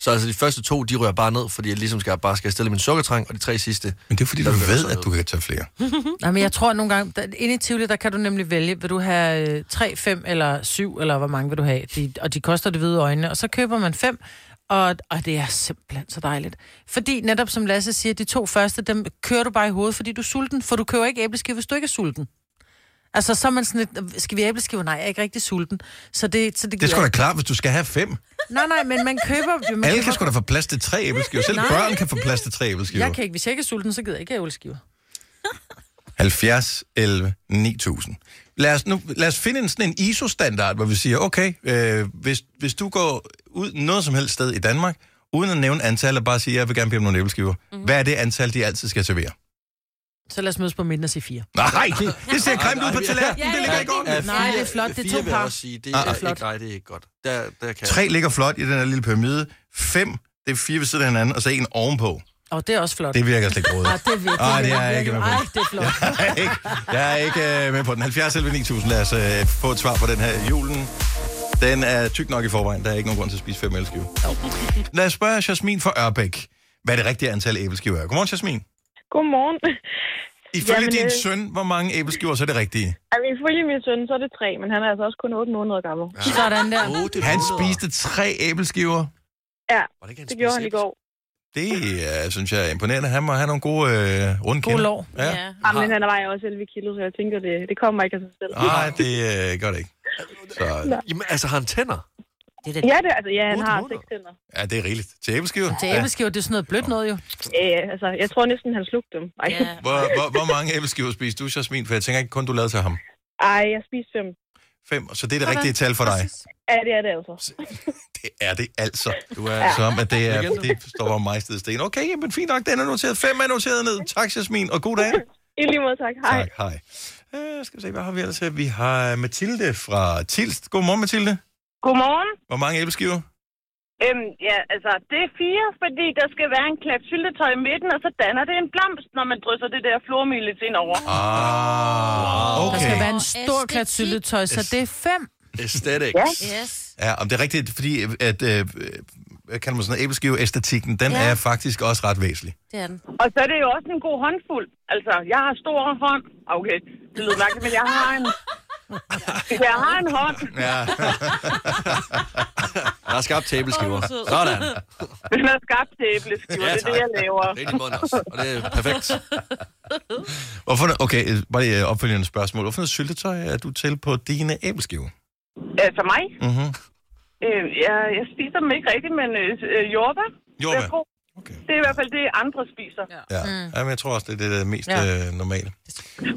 C: Så altså, de første to, de rører bare ned, fordi jeg ligesom skal, bare skal stille min sukkertrang, og de tre sidste...
A: Men det er fordi, du
C: Der vil jeg
A: ved,
C: også
A: at du kan tage flere.
B: Nej, men jeg tror nogle gange, der, inde i Tivoli, der kan du nemlig vælge, vil du have øh, 3, 5 eller 7, eller hvor mange vil du have, de, og de koster det hvide øjne, og så køber man 5, og, og det er simpelthen så dejligt. Fordi netop som Lasse siger, de to første, dem kører du bare i hovedet, fordi du er sulten, for du køber ikke æbleskiver, hvis du ikke er sulten. Altså, så er man sådan lidt, skal vi have æbleskiver? Nej, jeg er ikke rigtig sulten. Så det, så det,
A: Det er
B: gider
A: sgu da
B: jeg
A: klart, hvis du skal have fem.
B: ikke. Nej, nej, men man køber... Man
A: Alle
B: køber
A: kan sgu da få plads til tre æbleskiver. Selv
B: Nej.
A: børn kan få plads til tre æbleskiver.
B: jeg kan ikke, hvis jeg ikke er sulten, så gider jeg ikke have æbleskiver.
A: 70, 11, 9000. Lad os, nu, lad os finde en, sådan en ISO-standard, hvor vi siger, okay, øh, hvis, hvis du går ud noget som helst sted i Danmark, uden at nævne antal, og bare sige, jeg vil gerne bede om nogle æbleskiver.
B: Mhm.
A: Mm-hmm. Hvad er det antal, de altid skal servere?
B: Så lad os mødes på midten og sige 4.
A: Nej, det ser grimt ud på tallerkenen. Det ligger ikke
C: Ja,
A: ordentligt.
B: Nej,
C: fire-
B: det er flot. Det er
C: fire
B: to
C: vil jeg
B: par.
C: også sige, det
A: Ah,
C: er
A: ah.
C: ikke, nej, det er ikke godt. Der, der kan
A: Tre ligger flot i den her lille pyramide. Fem, det er fire ved siden af hinanden, og så en ovenpå.
B: Og det er også flot.
A: Det virker slet ikke
B: Ej,
A: rådigt.
B: det er virkelig.
A: Ej, det er jeg ikke med på.
B: Ej, det er flot.
A: Jeg er ikke, jeg er ikke øh, med på den. 70 11 9000. Lad os øh, få et svar på den her julen. Den er tyk nok i forvejen. Der er ikke nogen grund til at spise fem æbleskiver. Lad os spørge Jasmin fra Ørbæk, hvad det rigtige antal æbleskiver er. Godmorgen, Jasmin.
I: Godmorgen.
A: Ifølge
I: Jamen,
A: din
I: øh,
A: søn, hvor mange æbleskiver så er det rigtige?
I: Jamen, ifølge min søn, så er det tre, men han er altså også kun 8 måneder gammel.
B: Sådan der.
A: Han spiste tre æbleskiver.
I: Ja,
C: Var ikke,
I: det gjorde han i går.
A: Det øh, synes jeg er imponerende. Han må have nogle gode øh, runde
B: God
A: kinder.
B: lov.
A: Ja.
D: Ja.
I: Jamen, Ah, men han vejer også 11 kilo, så jeg tænker,
D: Ah.
I: det, det kommer ikke af sig selv.
A: Nej, det øh, gør det ikke. Så,
C: Jamen, altså, har han tænder?
D: Det er
I: Ja, det, altså, ja han
C: Otte
I: har
C: måneder?
I: seks tænder.
A: Ja, det er rigeligt. Til æbleskiver?
B: Til æbleskiver, det er sådan noget blødt noget jo.
I: Ja, ja, altså, jeg tror næsten, han slugte dem. Ej,
D: Ja.
A: Hvor, hvor, hvor mange æbleskiver spiste du, Jasmin? For jeg tænker ikke kun, du lavede til ham.
I: Ej jeg spiste fem.
A: Fem, så det er det rigtige tal for dig.
I: Ja, det er det altså.
A: Det er det altså.
C: Du er...
A: Som at det, er,
C: Legende.
A: det står bare mig sted i sten. Okay, men fint nok, den er noteret. Fem er noteret ned. Tak, Jasmin, og god dag.
I: I lige måde, tak. Hej.
A: Tak, hej. Øh, skal vi se, hvad har vi ellers her? Vi har øh, Mathilde fra Tilst. Godmorgen, Mathilde.
I: Godmorgen.
A: Hvor mange æbleskiver?
I: Øhm, ja, altså, det er fire, fordi der skal være en klat syltetøj i midten, og så danner det en blomst, når man drysser det der flormelis ind over.
A: Ah,
B: Der skal
A: okay.
B: være en stor
D: Æstetik.
B: klat syltetøj, så det er fem.
C: Aesthetics.
D: Yes.
A: Ja, om det er rigtigt, fordi at, øh, øh, kan man sådan noget, æbleskive æstetikken, den ja.
D: Ja.
A: er faktisk også ret væsentlig.
D: Det er den.
I: Og så er det jo også en god håndfuld. Altså, jeg har stor hånd. Ah, Okay, det lyder mærkeligt, men jeg har en... Jeg har en hånd.
A: Ja.
C: Der er skabt tæbleskiver.
D: Åh, hvor sød.
C: Sådan.
I: Den er skabt til æbleskiver.
C: Ja,
I: det er det,
C: tak.
I: jeg laver.
C: Det er din mund også, og det er perfekt.
A: Hvorfor, okay, øh, bare lige øh, opfølgende spørgsmål. Hvorfor noget syltetøj er du til på dine æbleskiver?
I: Altså mig?
A: Mhm.
I: Øh, jeg, jeg spiser dem ikke rigtigt, men øh, øh, jordbær.
A: Jo,
I: Jeg tror,
A: Okay.
I: det er i hvert fald det, andre spiser.
A: Ja. Mm. Jamen, jeg tror også, det er det der er mest ja.
B: Ja.
A: øh, normale.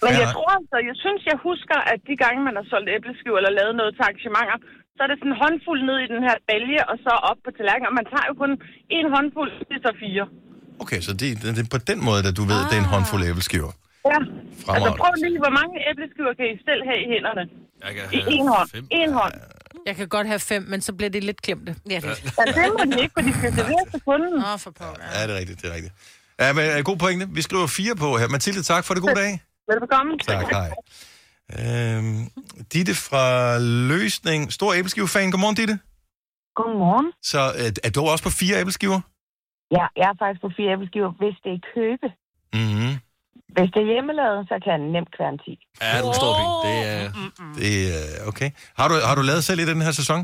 I: Men
A: Ja.
I: jeg tror altså, jeg synes, jeg husker, at de gange, man har solgt æbleskiver eller lavet noget til arrangementer, så er det sådan en håndfuld ned i den her balje, og så op på tallerkenen. Og man tager jo kun en håndfuld, det er så fire.
A: Okay, så det, det, det er på den måde, at du ved, at det er en håndfuld æbleskiver.
I: Ja. Ah. Altså
A: Fremragende.
I: prøv lige, hvor mange æbleskiver kan I selv have i hænderne?
C: Jeg kan
I: I
C: have
I: en hånd.
C: fem.
I: En hånd.
B: Jeg kan godt have fem, men så bliver det lidt klemte.
D: Ja, det er det.
I: Ja, det må de ikke, for de skal servere til kunden.
B: Åh, for pokker.
A: Ja, det er rigtigt, det er rigtigt. Ja, men øh, god pointe. Vi skriver fire på her. Mathilde, tak for det. God dag.
I: Velbekomme.
A: Tak, hej. Øhm, Ditte fra Løsning. Stor æbleskive-fan. Godmorgen, Ditte.
I: Godmorgen.
A: Så øh, er du også på fire æbleskiver?
I: Ja, jeg er faktisk på fire æbleskiver, hvis det er købe.
A: Mm-hmm.
I: Hvis det er hjemmelavet, så kan den nemt være en 10.
C: Ja, den står pink. Det er...
A: Det er øh, okay. Har du, har du lavet selv i den her sæson?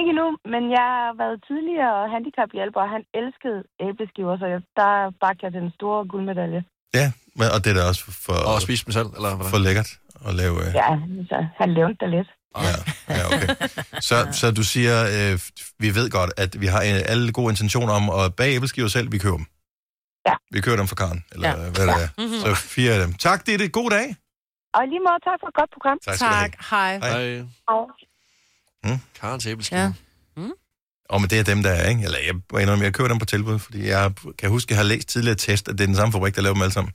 I: Ikke nu, men jeg har været tidligere handicaphjælper, og han elskede æbleskiver, så jeg, der bagte jeg den store guldmedalje.
A: Ja, men, og det er da også for,
C: Og spise dem selv, eller
A: for
C: hvordan?
A: lækkert at lave... Øh,
I: Ja, så han levnte det lidt.
A: Ja, ja okay. Så, så du siger, øh, vi ved godt, at vi har øh, alle gode intentioner om at bage æbleskiver selv, vi køber dem.
I: Ja.
A: Vi køber dem fra Karen, eller ja.
B: Ja.
A: hvad det er. Så fire af dem. Tak, Ditte. God dag.
I: Og i lige måde, tak for et godt program.
A: Tak skal du have.
B: Tak, hej.
A: Hej.
C: Hej.
I: Og
C: Karens æbleskiver.
B: Ja.
A: Og men det er dem, der er, ikke? Eller jeg må indrømme, jeg køber dem på tilbud, fordi jeg kan huske, jeg har læst tidligere test, at det er den samme fabrik, der laver dem alle sammen.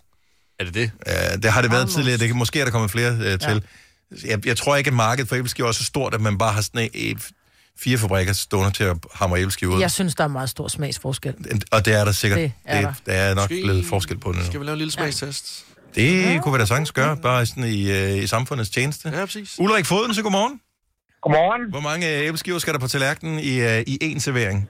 C: Er det det?
A: Øh, det har det været tidligere. Det kan, måske er der kommet flere øh, til. Jeg, jeg tror ikke, at markedet for æbleskiver er så stort, at man bare har sådan en, øh, fire fabrikker stående til at hamre æbleskiver ud.
B: Jeg synes, der er meget stor smagsforskel.
A: Og det er der sikkert.
B: Det er
A: det, der. er nok blevet forskel på det nu.
C: Skal vi lave en lille smagstest?
A: Det kunne vi da sagtens gøre, bare sådan i, øh, i samfundets tjeneste.
C: Ja, præcis.
A: Ulrik Foden, så godmorgen.
J: Godmorgen.
A: Hvor mange øh, æbleskiver skal der på tallerkenen i, øh, i én servering?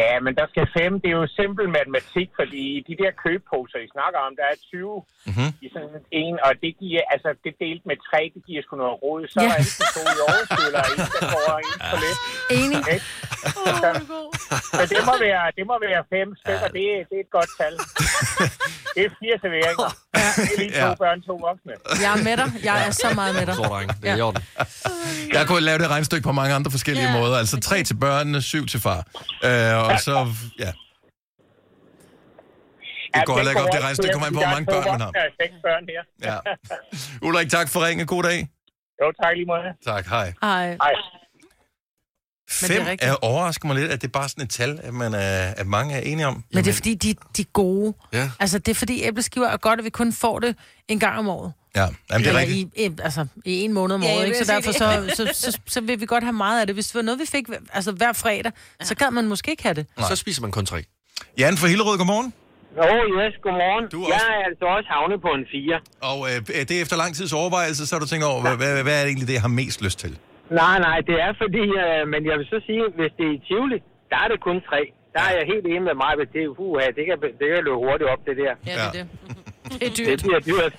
J: Ja, men der skal fem. Det er jo simpel matematik, fordi i de der købposer, I snakker om, der er 20 mm-hmm. i sådan en, og det giver, altså det delt med tre, det giver sgu noget råd. Så
B: Ja.
J: er det to i overskud, og en, der får og en for lidt.
B: Enig?
J: Så det må være, det må være fem stykker, det, er- det er et godt tal. Det er fire serveringer. Det er lige to
A: Ja.
J: børn, to voksne.
B: Jeg er med dig. Jeg er så meget med dig.
C: Stor dreng. Det er i
B: Ja.
C: orden.
A: Jeg kunne lave det regnestykke på mange andre forskellige
D: Ja.
A: måder. Altså tre til børnene, syv til far. Øh, og så, ja.
J: Ja,
A: går heller ikke op, det regnestykke. Kommer an på, hvor mange børn man har.
J: Der er seks børn her.
A: ja. Ulrik, tak for ringen. God dag.
J: Jo, tak lige måde.
A: Tak, hej.
B: Ej.
J: Hej.
B: er
A: Fem
B: rigtigt.
A: er, overrasker mig lidt, at det er bare sådan et tal, at, man er, at mange er enige om.
B: Men det er fordi, de, de er gode.
C: Ja.
B: Altså, det er fordi æbleskiver er godt, at vi kun får det en gang om året.
A: Ja, jamen, det er
B: Eller
A: rigtigt.
B: i, i, altså, i en måned om
D: Ja, jeg
B: året,
D: vil
B: ikke? Så
D: sige
B: derfor så, så, så, så, vil vi godt have meget af det. Hvis det var noget, vi fik hver- altså, hver fredag, så gad man måske ikke have det.
C: Så spiser man kun tre.
A: Jan fra Hillerød, godmorgen.
J: Jo, yes, godmorgen.
A: Du
J: Du
A: er
J: jeg
A: også-
J: er altså også havnet på en fire.
A: Og øh, det er efter lang tids overvejelse, så har du tænkt over, hvad, hvad, hvad er det egentlig det, jeg har mest lyst til?
J: Nej, nej, det er fordi, øh, men jeg vil så sige, hvis det er i Tivoli, der er det kun tre. Der er jeg helt enig med mig, at det, uha, det, kan, det kan løbe hurtigt op, det der.
B: Ja, det er
A: Ja.
B: det. Det er
J: Det
B: dyrt.
J: bliver dyrt.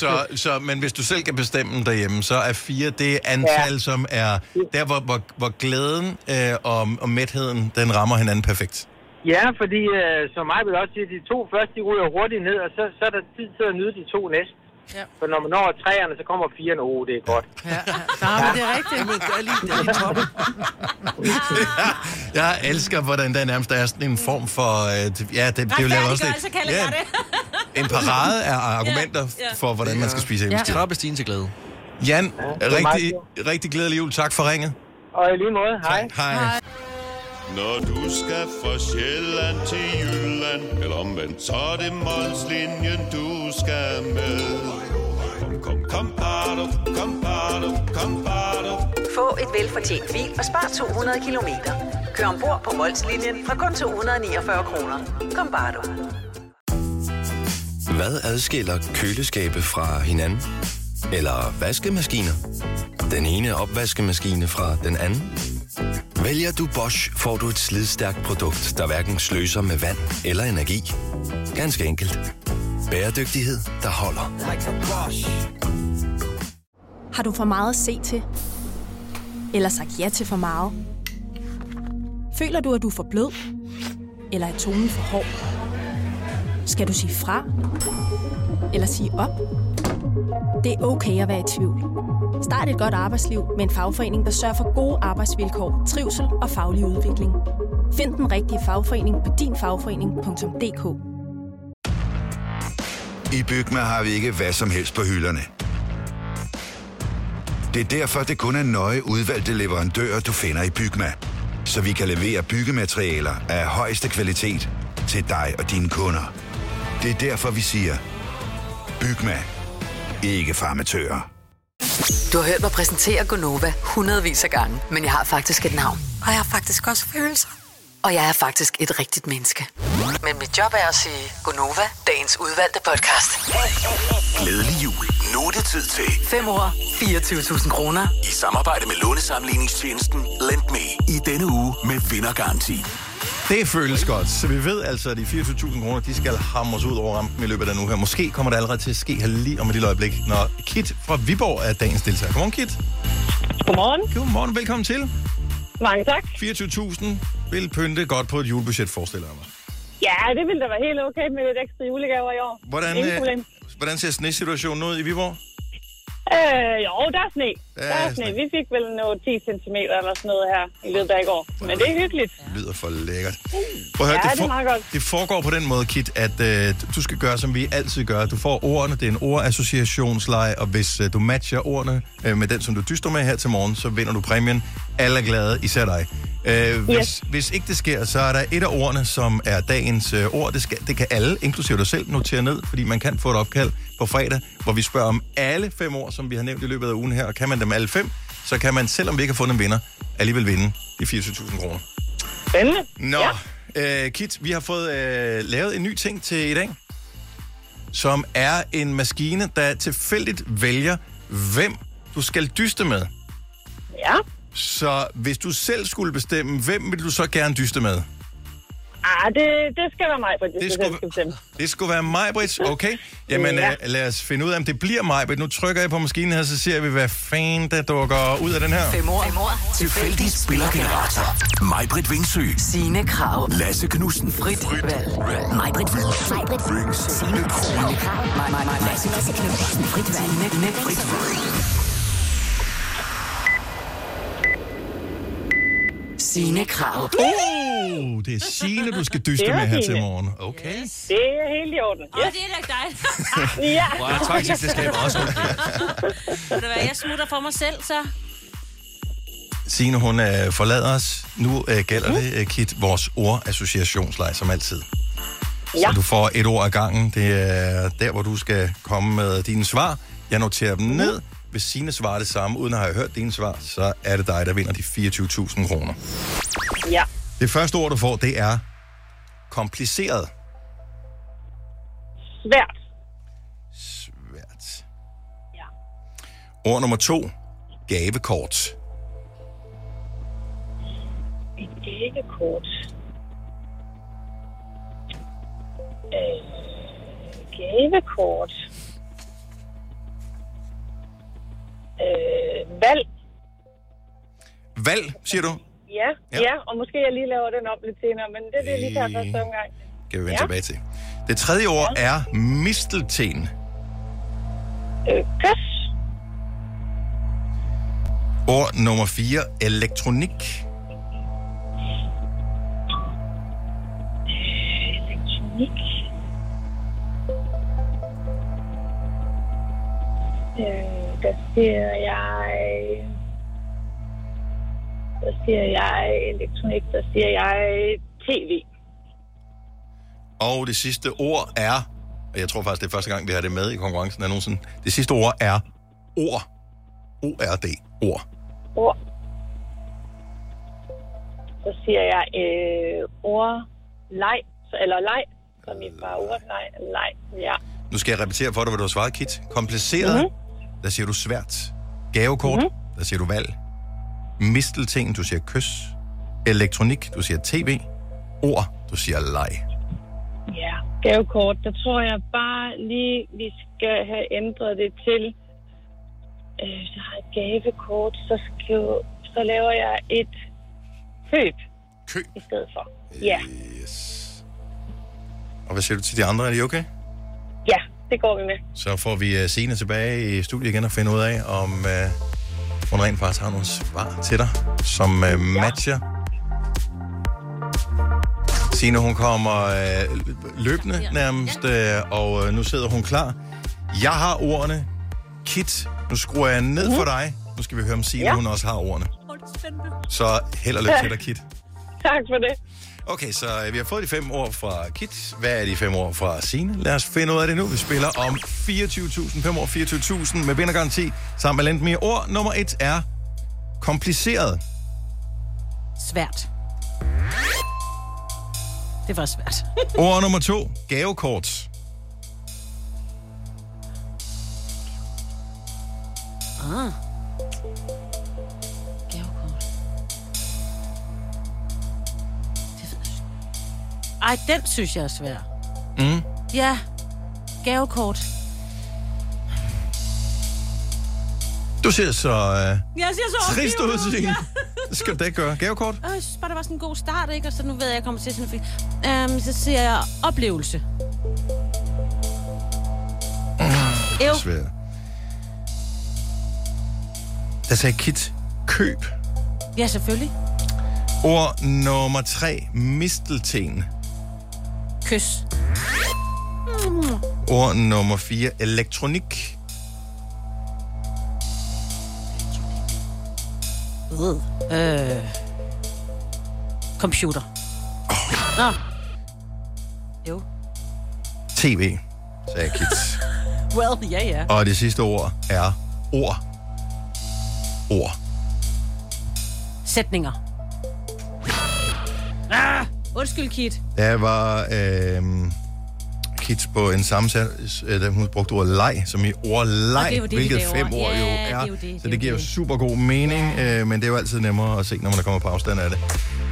A: Så, så, men hvis du selv kan bestemme derhjemme, så er fire det antal, ja.
J: Ja.
A: som er der, hvor, hvor, hvor glæden øh, og, og mætheden, den rammer hinanden perfekt.
J: Ja, fordi øh, som mig vil også sige, de to første, de ryger hurtigt ned, og så, så er der tid til at nyde de to næste.
B: Ja.
J: Så når man når træerne, så kommer firene. Åh, oh, det er godt.
B: Ja, ja. men det er rigtigt. Jamen,
C: det er lige, det er lige toppen.
A: Jeg elsker, hvordan der nærmest er sådan en form for... Øh, t- ja, det, det er jo lavet også lidt...
D: Retfærdiggørelse kalder jeg
A: En parade af argumenter
D: Ja, ja.
A: for, hvordan man skal spise
C: Ja.
A: æbleskid.
C: Trappestigen til glæde.
A: Jan,
J: var
A: rigtig, rigtig glædelig jul. Tak for ringet.
J: Og i lige måde, hej.
A: Hej.
K: Når du skal fra Sjælland til Jylland, eller omvendt, så er det Molslinjen, du skal med. Kom, kom, kom, bado, kom, bado, kom, bado.
H: Få et velfortjent bil og spar 200 kilometer. Kør ombord på Molslinjen fra kun 249 kroner. Kom bare du.
L: Hvad adskiller køleskabe fra hinanden? Eller vaskemaskiner? Den ene opvaskemaskine fra den anden? Vælger du Bosch, får du et slidstærkt produkt, der hverken sløser med vand eller energi. Ganske enkelt. Bæredygtighed, der holder.
M: Har du for meget at se til? Eller sagt ja til for meget? Føler du, at du er for blød? Eller er tonen for hård? Skal du sige fra? Eller sige op? Det er okay at være i tvivl. Start et godt arbejdsliv med en fagforening, der sørger for gode arbejdsvilkår, trivsel og faglig udvikling. Find den rigtige fagforening på dinfagforening.dk
N: I Bygma har vi ikke hvad som helst på hylderne. Det er derfor, det kun er nøje udvalgte leverandører, du finder i Bygma. Så vi kan levere byggematerialer af højeste kvalitet til dig og dine kunder. Det er derfor, vi siger, Bygma. Ikke farmatører.
H: Du har hørt mig præsentere Gonova hundredvis af gange, men jeg har faktisk et navn.
O: Og jeg har faktisk også følelser.
H: Og jeg er faktisk et rigtigt menneske. Men mit job er at sige Gonova, dagens udvalgte podcast.
F: Glædelig jul. Nu er det tid til
H: 5 år, 24.000 kroner.
F: i samarbejde med lånesamligningstjenesten Lend Me i denne uge med vindergaranti.
A: Det føles godt. Så vi ved altså, at de 24.000 kroner, de skal hamres ud over rampen i løbet af nu her. Måske kommer det allerede til at ske her lige om et lille øjeblik, når Kit fra Viborg er dagens deltager. Godmorgen, Kit.
I: Godmorgen.
A: Godmorgen, velkommen til.
I: Mange tak.
A: 24.000 vil pynte godt på et julebudget, forestiller jeg mig.
I: Ja, det ville da være helt okay med lidt ekstra julegaver i år.
A: Hvordan,
I: Ingen problem.
A: øh, hvordan ser snesituationen ud i Viborg?
I: Øh, jo, der er sne. Der,
A: Der
I: der
A: er
I: er sne. Vi fik vel noget 10 cm eller sådan noget her i løbet af i går. Men det er hyggeligt.
A: Det lyder for lækkert. Prøv at høre,
I: Uh. Ja,
A: det,
I: det er meget godt.
A: det foregår på den måde, Kit, at øh, du skal gøre, som vi altid gør. Du får ordene, det er en ordassociationsleje, og hvis øh, du matcher ordene øh, med den, som du dyster med her til morgen, så vinder du præmien. Alle er glade, især dig. Øh, hvis, yes. hvis ikke det sker, så er der et af ordene, som er dagens øh, ord. Det, skal, det kan alle, inklusive dig selv, notere ned, fordi man kan få et opkald på fredag, hvor vi spørger om alle fem ord, som vi har nævnt i løbet af ugen her. Og kan man dem alle fem, så kan man, selvom vi ikke har fundet en vinder, alligevel vinde de 24.000 kroner.
I: Spændende.
A: Nå, ja. øh, Kit, vi har fået øh, lavet en ny ting til i dag, som er en maskine, der tilfældigt vælger, hvem du skal dyste med.
I: Ja.
A: Så hvis du selv skulle bestemme, hvem vil du så gerne dyste med?
I: Ah, det, det skal være mig, for det, det skal bestemme.
A: Det skulle være Majbrits, okay? Jamen,
I: Ja.
A: ja. øh, lad os finde ud af, om det bliver Majbrit. Nu trykker jeg på maskinen her, så ser vi, hvad fanden der dukker ud af den her.
H: Fem år. Fem år.
F: Tilfældig spillergenerator. Majbrit Vingsø.
H: Signe Krav.
F: Lasse Knudsen.
H: Frit valg. Majbrit Vingsø. Majbrit Vingsø. Signe Krohn. Lasse Knudsen. Frit valg. Signe Frit Signe Krav.
A: Oh, det er Signe, du skal dyste
I: Det var
A: med her til
I: Signe.
A: morgen. Okay.
I: Det er helt i orden.
D: Åh, det er da ikke dig.
I: ja.
C: Wow, tvangsægteskab er også okay.
D: Ved du hvad, jeg smutter for mig selv, så.
A: Signe, hun øh, forlader os. Nu øh,
I: Mm.
A: gælder det, øh, Kit, vores ordassociationsleje, som altid. Ja. Så du får et ord ad gangen. Det er der, hvor du skal komme med dine svar. Jeg noterer
I: Mm.
A: dem ned. Hvis Signe svarer det samme, uden at have hørt dine svar, så er det dig, der vinder de 24.000 kroner.
I: Ja.
A: Det første ord, du får, det er kompliceret.
I: Svært.
A: Svært. Ja. Ord nummer to, gavekort.
I: Et gavekort. Øh, gavekort. Øh, valg.
A: Valg, siger du?
I: Ja, ja, ja, og måske jeg lige laver den op lidt senere, men det vil jeg lige tage første omgang.
A: kan vi vende ja. tilbage til. Det tredje ord er mistelten.
I: Øh, kys.
A: Ord nummer 4, elektronik.
I: Elektronik. Øh, der siger jeg... Der siger jeg elektronik, der siger jeg tv.
A: Og det sidste ord er, og jeg tror faktisk, det er første gang, vi har det med i konkurrencen er nogensinde. Det sidste ord er ord. O-R-D. Ord.
I: Ord. Så siger jeg øh, ord, leg, så- eller leg, som i bare ord, leg, leg, ja.
A: Nu skal jeg repetere for dig, hvad du har svaret, Kit. Kompliceret, mm-hmm. der siger du svært. Gavekort, mm-hmm. der siger du valg. Mistelting, du siger kys. Elektronik, du siger tv. Ord, du siger leg.
I: Ja, gavekort. Der tror jeg bare lige, vi skal have ændret det til. Øh, så har jeg et gavekort, så, skal, så laver jeg et køb.
A: Køb? Øh.
I: I stedet for. Ja,
A: Og hvad siger du til de andre? Er de okay?
I: ja, det går vi med.
A: Så får vi uh, Signe tilbage i studiet igen og finde ud af, om uh, hun rent faktisk har nogle svar til dig, som uh, matcher. Signe, hun kommer uh, løbende nærmest, uh, og uh, nu sidder hun klar. Jeg har ordene. Kit, nu skruer jeg ned for dig. Nu skal vi høre, om Signe
I: Ja.
A: hun også har ordene. Så held og lykke til dig, Kit.
I: Tak for det.
A: Okay, så øh, vi har fået de fem ord fra Kit. Hvad er de fem ord fra Sine? Lad os finde ud af det nu. Vi spiller om 24.000, fem år 24.000 med vindergaranti sammen med Lendmere. Ord nummer et er kompliceret.
D: Svært. Det var svært.
A: Ord nummer to, gavekort.
D: Ah. Gavekort. Det ved jeg ikke. Ej, den synes jeg er svær.
A: Mm.
D: Ja, gavekort.
A: Du ser så øh,
D: Jeg siger så
A: trist
D: opgivet
A: ud,
D: nu.
A: Signe.
D: Ja.
A: Det skal du da ikke gøre. Gavekort?
D: Og jeg synes bare, det var sådan en god start, ikke? Og så nu ved jeg, at jeg kommer til sådan en... Øhm, så siger jeg oplevelse. Ev.
A: Svært. Der sagde Kit, køb.
D: Ja, selvfølgelig.
A: Ord nummer tre, mistelten.
D: Kys. Mm.
A: Ord nummer 4, elektronik.
D: Øh. Computer. Nå. Jo.
A: TV, sagde Kit.
D: Well, ja, ja.
A: Og det sidste ord er ord. Ord.
D: Sætninger. Ah, undskyld, Kit.
A: Der var øh, Kit på en sammensat, øh, der hun brugte ordet leg, som i
D: Og det
A: ordleg,
D: er jo det, vi
A: hvilket
D: laver.
A: fem ord
D: Ja,
A: jo
D: det
A: er.
D: er jo det, det er
A: så
D: jo
A: det giver jo
D: det.
A: super god mening, øh, men det er jo altid nemmere at se, når man kommer på afstand af det.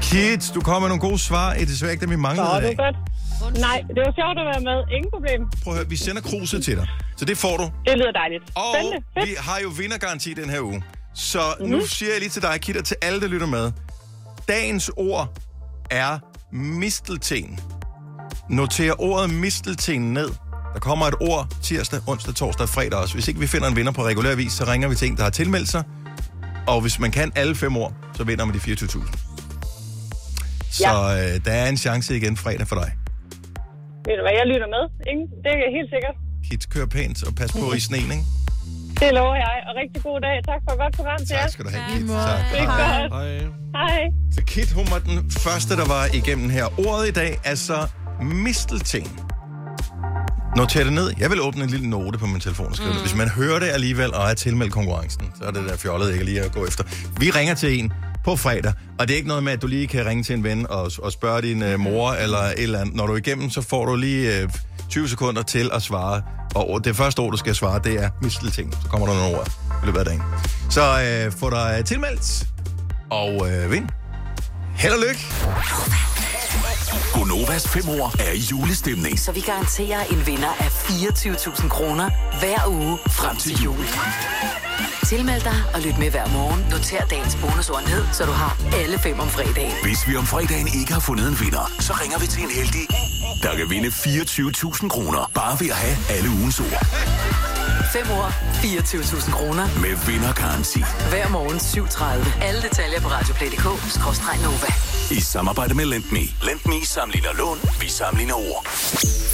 A: Kit, du kommer med nogle gode svar. Det er desværre ikke dem, vi
I: Så
A: manglede
I: er
A: i
I: det
A: dag.
I: godt. Nej, det var sjovt at være med. Ingen problem.
A: Prøv at høre, vi sender kruset til dig. Så det får du.
I: Det lyder dejligt.
A: Og
I: Spændende.
A: vi har jo vindergaranti den her uge. Så mm-hmm. nu
I: Mhm.
A: siger jeg lige til dig, Kitter, til alle, der lytter med. Dagens ord er mistelten. Noter ordet mistelten ned. Der kommer et ord tirsdag, onsdag, torsdag og fredag også. Hvis ikke vi finder en vinder på regulær vis, så ringer vi til en, der har tilmeldt sig. Og hvis man kan alle fem ord, så vinder man de 24.000. Så ja. øh, der er en chance igen fredag for dig.
I: Ved du hvad, jeg lytter med. Ingen, det er helt sikkert.
A: Kit, kør pænt og pas på i sneen, ikke?
I: Det lover jeg. Og rigtig god dag. Tak for et godt program til jer.
A: Tak skal du have, Kit.
I: Tak. Det er godt.
A: Hej.
I: Hej.
A: Så Kit, hun var den første, der var igennem her. Ordet i dag er så mistelting. Noter det ned. Jeg vil åbne en lille note på min telefon og skrive mm. Hvis man hører det alligevel og er tilmeldt konkurrencen, så er det der fjollet ikke lige at gå efter. Vi ringer til en på fredag, og det er ikke noget med, at du lige kan ringe til en ven og, og spørge din uh, mor eller et eller andet. Når du er igennem, så får du lige uh, 20 sekunder til at svare. Og det første ord, du skal svare, det er mistelting. Så kommer der nogle ord i løbet af dagen. Så uh, få dig øh, tilmeldt og øh, vind. Held og lykke.
F: Gonovas fem år er i julestemning.
H: Så vi garanterer en vinder af 24.000 kroner hver uge frem til jul. Tilmeld dig og lyt med hver morgen. Noter dagens bonusord ned, så du har alle fem om fredagen.
F: Hvis vi om fredagen ikke har fundet en vinder, så ringer vi til en heldig, der kan vinde 24.000 kroner, bare ved at have alle ugens ord.
H: 5 år, 24.000 kroner.
F: Med vindergaranti.
H: Hver morgen 7.30. Alle detaljer på radioplay.dk-nova.
F: I samarbejde med LendMe. LendMe sammenligner lån, vi sammenligner ord.